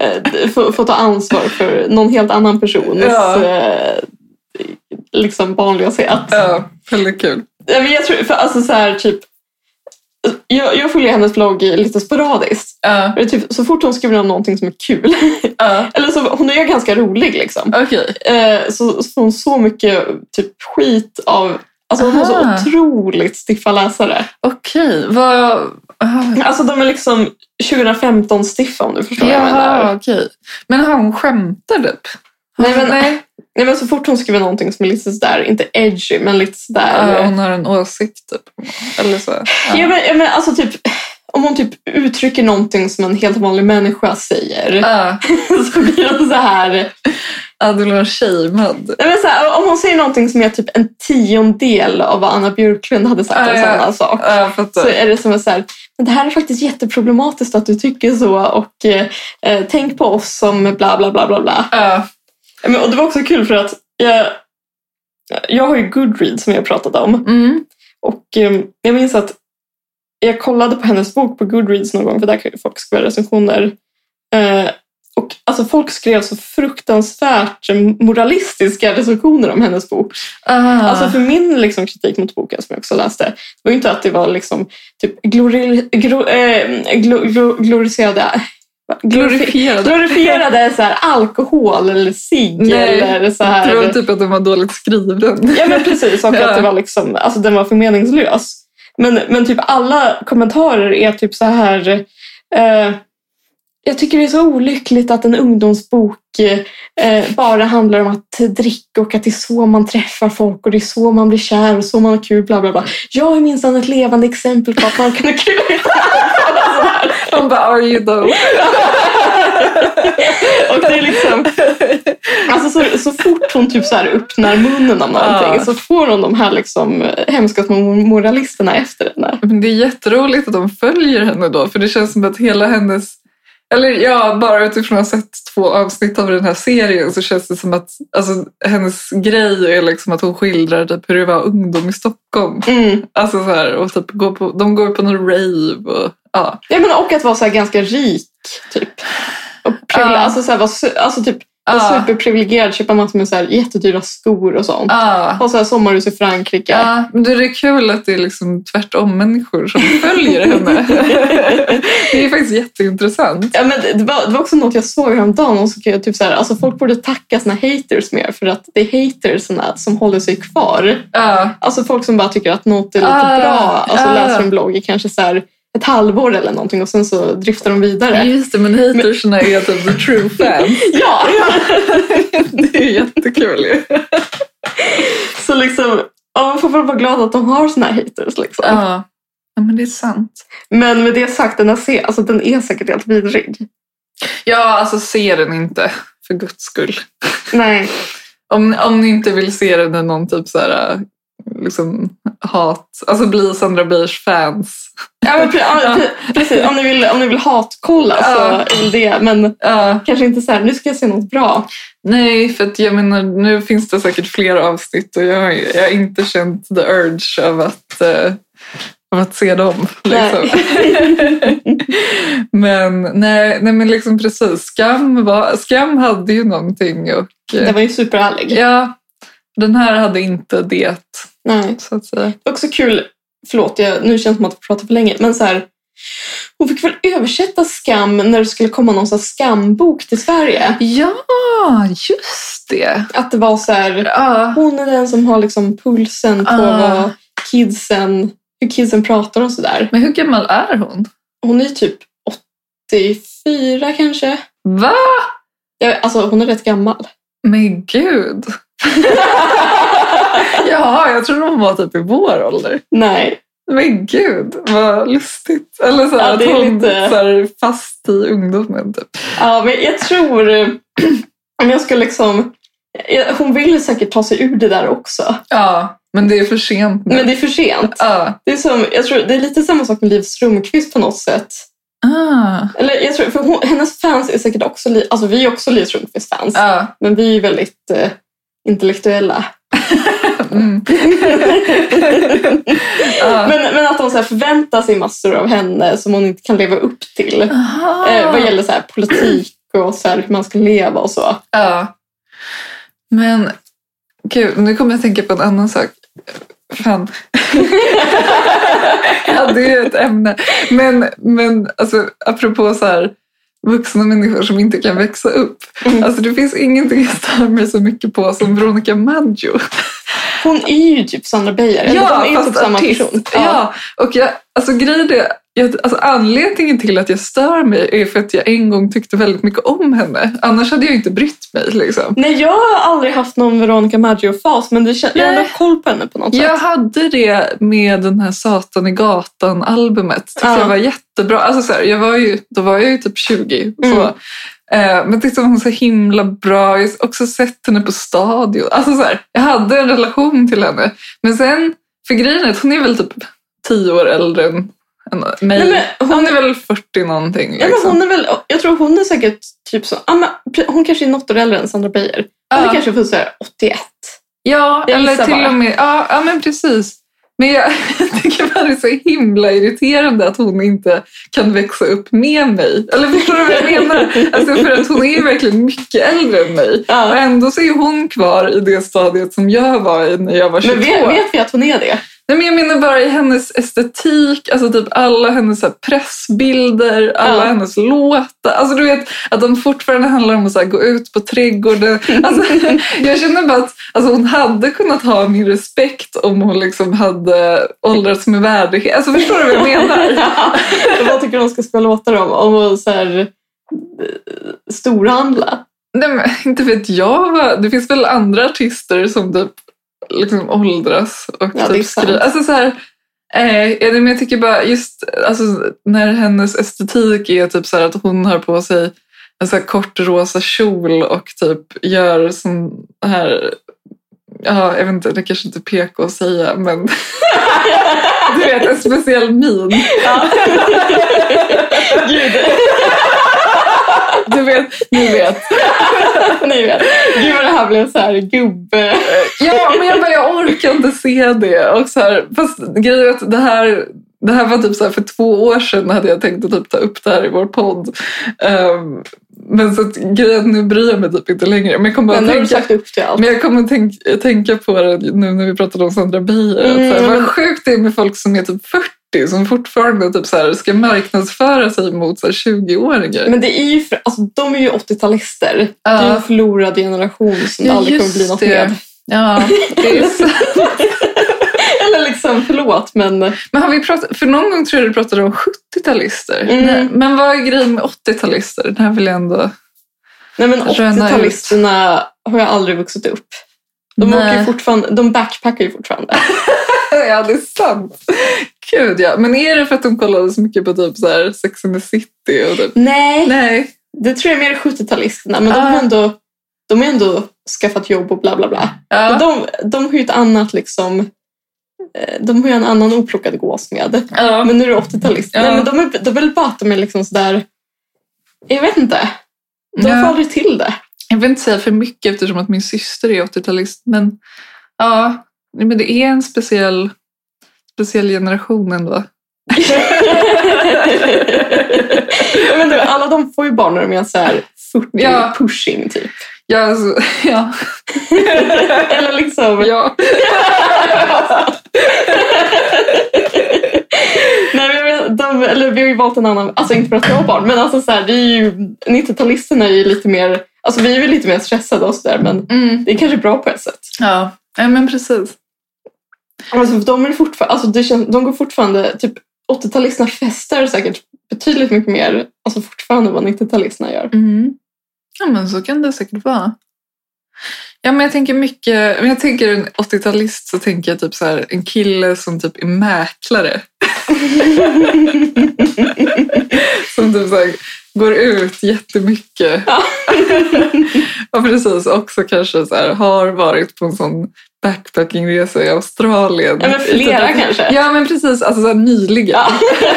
C: eh, få, få ta ansvar för någon helt annan persons
B: Ja.
C: eh, liksom barnlöshet.
B: ja, väldigt kul.
C: Ja, men jag tror, för alltså så här, typ, jag, jag följer hennes blogg lite sporadiskt.
B: Ja,
C: Det är Typ, så fort hon skriver om någonting som är kul, [laughs]
B: ja.
C: eller så, hon är ju ganska rolig liksom,
B: Okej.
C: eh, så, så får hon så mycket typ, skit av Alltså hon har
B: Aha.
C: så otroligt stiffa läsare.
B: Okej, vad... ah,
C: Alltså de är liksom 2015-stiffa om du förstår vad jag menar.
B: Jaha, okej. Men har hon skämtar typ?
C: Nej, men-
B: nej.
C: Nej men så fort hon skriver någonting som är lite sådär, inte edgy, men lite sådär.
B: Ja, hon har en åsikt typ. Eller så. Ja.
C: ja, men, ja, men alltså typ, om hon typ uttrycker någonting som en helt vanlig människa säger.
B: Ja.
C: [laughs] så blir hon så här.
B: Ja, du blev shamead.
C: Nej, men så här om hon säger någonting som är typ en tiondel av vad Anna Björklund hade sagt om
B: Ja, ja.
C: samma sak.
B: Ja, jag
C: Så
B: fattar.
C: är det som att så här, men det här är faktiskt jätteproblematiskt att du tycker så och eh, eh, tänk på oss som bla bla bla bla bla.
B: Ja,
C: Ja, Men, och det var också kul för att jag, jag har ju Goodreads som jag pratade om
B: mm.
C: och eh, jag minns att jag kollade på hennes bok på Goodreads någon gång för där kan ju folk skriva recensioner. Eh, och alltså folk skrev så fruktansvärt moralistiska recensioner om hennes bok.
B: Ah.
C: Alltså för min liksom, kritik mot boken som jag också läste, det var ju inte att det var liksom, typ glori, gro, eh, glo, glo, gloriserade, va? glorifi,
B: glorifierad.
C: glorifierade så här, alkohol eller cigg
B: Nej,
C: eller så
B: Jag tror
C: här.
B: typ att den var dåligt skriven.
C: Ja men precis, och
B: Ja.
C: att det var liksom, alltså den var förmeningslös. Men, men typ alla kommentarer är typ så här. Eh, jag tycker det är så olyckligt att en ungdomsbok eh, bara handlar om att dricka och att det är så man träffar folk och det är så man blir kär och så man har kul. Bla bla bla. Jag är minsann ett levande exempel på att man kan ha kul.
B: Man bara, are you though?
C: och det är liksom, alltså så, så fort hon typ så här öppnar munnen om någonting
B: Ja.
C: så får hon de här liksom hemska små moralisterna efter henne.
B: Men det är jätteroligt att de följer henne då, för det känns som att hela hennes... Eller ja, bara utifrån att ha sett två avsnitt av den här serien så känns det som att alltså, hennes grej är liksom att hon skildrar typ hur det var ungdom i Stockholm.
C: Mm.
B: Alltså så här, och typ går på, de går på någon rave och ja.
C: Ja, men och att vara så här ganska rik, typ. Och privile-
B: Ja.
C: alltså, så här, var, su- alltså typ var
B: Ja.
C: superprivilegierad, köpa massor med så här, jättedyra skor och sånt.
B: Ja.
C: Ha så här sommarhus i Frankrike.
B: Ja, men det är kul att det är liksom tvärtom människor som följer henne. det är faktiskt jätteintressant.
C: [laughs] Ja, men det, det, var, det var också något jag såg häromdagen. Och så kunde jag typ så här, alltså folk borde tacka sina haters mer för att det är haterserna som håller sig kvar.
B: Ja,
C: Alltså folk som bara tycker att något är lite
B: Ah,
C: bra. Alltså
B: ah.
C: läser en blogg i kanske så här ett halvår eller någonting och sen så driftar de vidare.
B: just det, men hatersna är typ the true [laughs] fans.
C: [laughs] Ja!
B: [laughs] Det är jättekul ju.
C: Så liksom, ja, man får väl vara glad att de har sina haters. Liksom.
B: Ja. ja, men det är sant.
C: Men med det sagt, den, här se, alltså, den är säkert helt vidrig.
B: Ja, alltså se den inte för guds skull.
C: Nej.
B: Om, om ni inte vill se den i någon typ så här liksom hat, alltså bli Sandra Beirs fans.
C: Ja, men, pre- ja, pre- precis, om ni vill, om ni vill hatkolla
B: Ja.
C: så är väl det. Men
B: Ja.
C: kanske inte så här, nu ska jag se något bra.
B: Nej, för att jag menar, nu finns det säkert fler avsnitt och jag har, jag har inte känt the urge av att, eh, av att se dem. Liksom. [laughs] men nej, nej, men liksom precis. Skam, var, skam hade ju någonting. Och, eh,
C: Det var ju superhärlig.
B: ja, den här hade inte det,
C: Nej.
B: så att säga.
C: Det är också kul, förlåt, jag, nu känns det som att jag pratar för länge, men så här, hon fick väl översätta skam när det skulle komma någon så här skambok till Sverige.
B: Ja, just det.
C: Att det var så här,
B: Ja,
C: hon är den som har liksom pulsen på
B: Ah.
C: vad kidsen, hur kidsen pratar och sådär.
B: men hur gammal är hon?
C: Hon är ju typ 84 kanske.
B: Va?
C: Ja, alltså hon är rätt gammal. [laughs]
B: Men [laughs] gud. Jaha, jag trodde hon var typ i vår ålder.
C: Nej.
B: Men gud, vad lustigt. Eller så här,
C: Ja, det är
B: att hon
C: lite-
B: så här, fast i ungdomen. Typ.
C: Ja, men jag tror, [clears throat] om jag ska liksom, jag- hon vill säkert ta sig ur det där också.
B: Ja, men det är för sent nu.
C: Men det är för sent.
B: Ja.
C: Det är, som, jag tror, det är lite samma sak med Liv Strömquist på något sätt.
B: Ah.
C: Eller jag tror, för hon, hennes fans är säkert också, li, alltså vi är också Liv Strömquists fans.
B: Ja.
C: Men vi är ju väldigt eh, intellektuella.
B: Mm. Ja.
C: Men, men att de så här förväntar sig massor av henne som hon inte kan leva upp till.
B: Aha.
C: Eh, vad gäller så här politik och så här hur man ska leva och så.
B: Ja. Men gud, nu kommer jag att tänka på en annan sak. Fan. [laughs] ja, det är ju ett ämne. Men, men alltså, apropå så här, vuxna människor som inte kan växa upp.
C: Mm.
B: Alltså, det finns ingenting jag stör mig så mycket på som Veronica Maggio.
C: Hon är ju typ Sandra Beijer. eller de är ju typ samma person.
B: Ja. och jag, alltså, grejen är, jag, alltså, anledningen till att jag stör mig är för att jag en gång tyckte väldigt mycket om henne. Annars hade jag inte brytt mig. Liksom.
C: Nej, jag har aldrig haft någon Veronica Maggio-fas men det, kän- jag har ändå
B: Nej.
C: koll på henne på något
B: Jag
C: sätt.
B: hade det med den här Satan i gatan-albumet. Tyckte
C: Ja.
B: jag var jättebra. Alltså så här, jag var ju, då var jag ju typ 20. Så.
C: Mm.
B: Eh, men tyckte hon var så himla bra. Jag har också sett henne på stadion. Alltså så här, jag hade en relation till henne. Men sen, för grejen är att hon är väl typ 10 år äldre än, än mig.
C: Nej, men
B: hon, är väl 40 någonting.
C: Ja, men
B: liksom.
C: hon är väl, jag tror hon är säkert typ så, ja, men pre- hon kanske är något år äldre än Sandra Beijer. Hon är
B: Ja.
C: kanske född så här 81.
B: Ja,
C: Jag
B: eller
C: gissar
B: till
C: bara.
B: och med... Ja, ja men precis. Men jag [laughs] tycker bara det är så himla irriterande att hon inte kan växa upp med mig. Eller förstår du vad jag menar? Alltså för att hon är ju verkligen mycket äldre än mig. Och
C: Ja.
B: ändå så är hon kvar i det stadiet som jag var i när jag var
C: Men
B: 22.
C: vet, vet vi att hon är det?
B: Nej, men jag menar bara i hennes estetik, alltså typ alla hennes så här, pressbilder, alla
C: Ja.
B: hennes låtar. Alltså du vet att de fortfarande handlar om att så här, gå ut på trädgården. Alltså, jag känner bara att alltså, hon hade kunnat ha min respekt om hon liksom hade åldrats med värdighet. Alltså förstår du vad jag
C: [laughs]
B: menar?
C: Vad tycker du de ska spela låtar om? Om att så här, eh, storhandla?
B: Nej, men, [laughs] inte vet jag. va? Det finns väl andra artister som typ, liksom åldras och
C: Ja, det är
B: typ
C: sant.
B: skriver. Alltså, så här, eh, ja, det- men jag tycker bara just alltså, när hennes estetik är typ så här att hon har på sig en så här kort rosa kjol och typ gör sån här Ja, jag vet inte, det kanske inte är PK att säga, men [laughs] du vet, en speciell min.
C: [laughs] Gud,
B: Du vet,
C: ni vet. ni vet. Gud vad det här blev så här gubbe...
B: Ja, men jag, bara, jag orkar inte se det. Och så här, fast grejen är att det här, det här var typ så här, för två år sedan hade jag tänkt att typ ta upp det här i vår podd. Ehm, men så att, grejen är att nu bryr jag mig typ inte längre. Men jag kommer
C: Men
B: att
C: nu har du
B: tänka,
C: sagt upp till allt.
B: men jag kommer att tänk, tänka på det nu när vi pratade om Sandra Beijer. att så här,
C: Mm,
B: vad
C: men-
B: sjukt det är med folk som är typ 40 som fortfarande typ så här, ska marknadsföra sig mot så här 20-åringar.
C: Men det är ju för, alltså, de är ju 80-talister. Det är ju
B: Ja.
C: en förlorad generation som det
B: Ja,
C: aldrig kommer
B: just
C: bli något
B: det.
C: med.
B: Ja, det är så.
C: Eller liksom, förlåt, men
B: Men har vi pratat, för någon gång tror jag du pratade om 70-talister.
C: Mm.
B: Nej, Men vad är grejen med 80-talister? Den här vill jag ändå...
C: Nej men
B: Röna
C: 80-talisterna har jag aldrig vuxit upp. De,
B: Nej.
C: åker ju fortfarande, de backpackar ju fortfarande.
B: [laughs] ja, det är sant. Gud ja. Men är det för att de kollade så mycket på typ så här Sex and the City? Och typ?
C: Nej,
B: [laughs] Nej.
C: det tror jag är mer 70-talisterna. Men de,
B: Ah.
C: har ändå, de har ändå skaffat jobb och bla bla bla.
B: Ja.
C: Och De, de har ju ett annat liksom... eh, De har ju en annan oplockad gås med.
B: ja.
C: Men nu är det 80-talister.
B: Ja.
C: Nej men de är, de är väl bara att de är liksom sådär... Jag vet inte. De får
B: ja.
C: aldrig till det. [laughs]
B: Jag vill inte säga för mycket eftersom att min syster är 80-talist. Men ja, Nej, men det är en speciell, speciell generation ändå.
C: jag vet inte, alla de får ju barn när de är såhär 40
B: Ja. [laughs]
C: pushing typ.
B: Ja, alltså, ja.
C: Eller liksom...
B: ja.
C: Nej, men jag vet, de, eller vi har ju valt en annan, alltså inte för att jag har barn, men alltså så här, det är ju, 90-talisterna är ju lite mer, alltså vi är väl lite mer stressade och sådär, men
B: Mm.
C: det är kanske bra på ett sätt.
B: ja. ja, men precis.
C: Alltså, för de, är fortfarande, alltså det känns, de går fortfarande, typ 80-talisterna festar säkert betydligt mycket mer, alltså fortfarande vad
B: [laughs]
C: 90-talisterna gör.
B: Mm. Ja, men så kan det säkert vara. Ja, men jag tänker mycket, men jag tänker en 80-talist så tänker jag typ så här, en kille som typ är mäklare. [laughs] Som typ så här, går ut jättemycket.
C: Ja.
B: och precis också kanske så här, har varit på en sån backpackingresa i Australien.
C: Ja, men flera
B: Typ att-
C: kanske.
B: Ja men precis, alltså så här, nyligen.
C: Ja.
B: [laughs]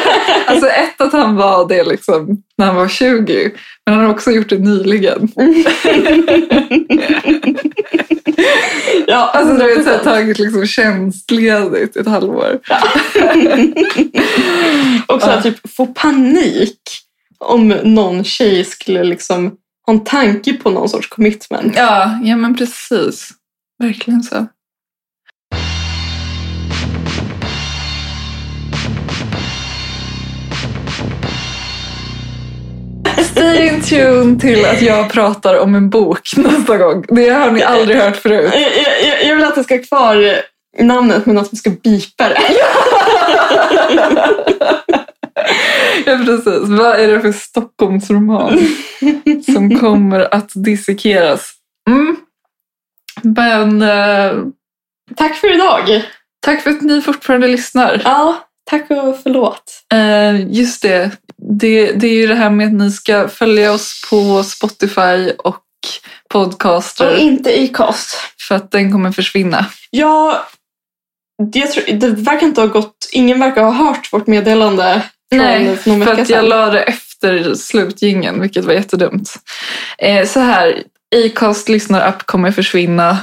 B: Alltså ett att han var det liksom när han var 20. Men han har också gjort det nyligen.
C: ja,
B: Alltså du vet, så här, tagit liksom tjänstledigt ett halvår.
C: Och så här,
B: Ja.
C: typ få panik om någon tjej skulle liksom ha en tanke på någon sorts commitment.
B: Ja, ja men precis. Verkligen så. Stay in tune till att jag pratar om en bok nästa gång. Det har ni aldrig hört [laughs] förut.
C: Jag, jag, jag vill att det ska vara kvar namnet men att vi ska bipa det.
B: Ja, precis. Vad är det för Stockholmsroman som kommer att dissekeras? Mm. Men eh,
C: Tack för idag!
B: tack för att ni fortfarande lyssnar.
C: Ja, tack och förlåt.
B: Eh, just det. det. Det är ju det här med att ni ska följa oss på Spotify och
C: Och
B: podcaster
C: inte i kost.
B: för att den kommer försvinna.
C: Jag, jag tror, det verkar inte ha gått, ingen verkar ha hört vårt meddelande från
B: Nej,
C: för någon
B: För
C: vecka
B: att jag
C: sedan.
B: la det efter slutgingen, vilket var jättedumt. Eh, så här, Acast lyssnarapp kommer försvinna.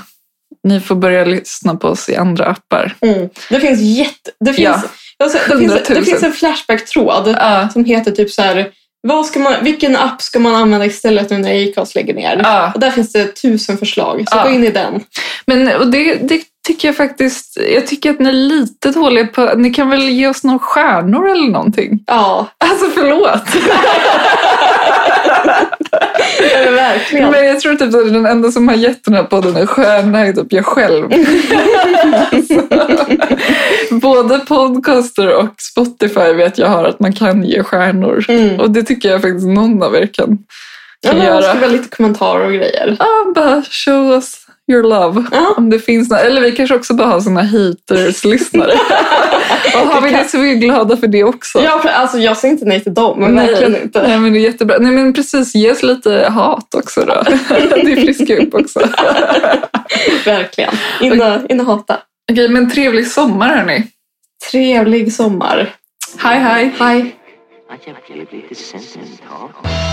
B: Ni får börja lyssna på oss i andra appar.
C: Mm. Det finns jätte... Det finns,
B: Ja.
C: jag har sett- det, finns, det
B: 100 000.
C: finns en Flashback-tråd
B: Ja,
C: som heter typ så här Vad ska man, vilken app ska man använda istället nu när Acast lägger ner?
B: Ja.
C: Och där finns det tusen förslag, så
B: Ja.
C: gå in i den.
B: Men och det, det tycker jag faktiskt, jag tycker att ni är lite dåliga på, ni kan väl ge oss några stjärnor eller någonting?
C: Ja,
B: Alltså förlåt!
C: ja, [laughs] men verkligen.
B: Men jag tror typ att den enda som har gett den här podden en stjärna är typ jag
C: [laughs]
B: själv.
C: Alltså.
B: Så, [laughs] både podcaster och Spotify vet jag har att man kan ge stjärnor.
C: Mm.
B: Och det tycker jag faktiskt någon av er kan,
C: Ja,
B: kan
C: men
B: göra.
C: jag skriva lite kommentarer och grejer.
B: Ja, bara show us your love.
C: Ja.
B: Om det finns några, eller vi kanske också bara har såna
C: [laughs]
B: haters-lyssnare. och har vi det så är vi glada för det också.
C: Ja, för, alltså, jag säger inte nej till dem, men verkligen
B: [laughs]
C: inte.
B: Nej, men det är jättebra. Nej, men precis. Ge oss lite hat också
C: [laughs]
B: då. det friskar upp också.
C: Verkligen. In och, in och hata.
B: Okej, men trevlig sommar hörni.
C: Trevlig sommar.
B: Hej, hej.
C: Hej.
A: I can't believe this sentence. Talk. er?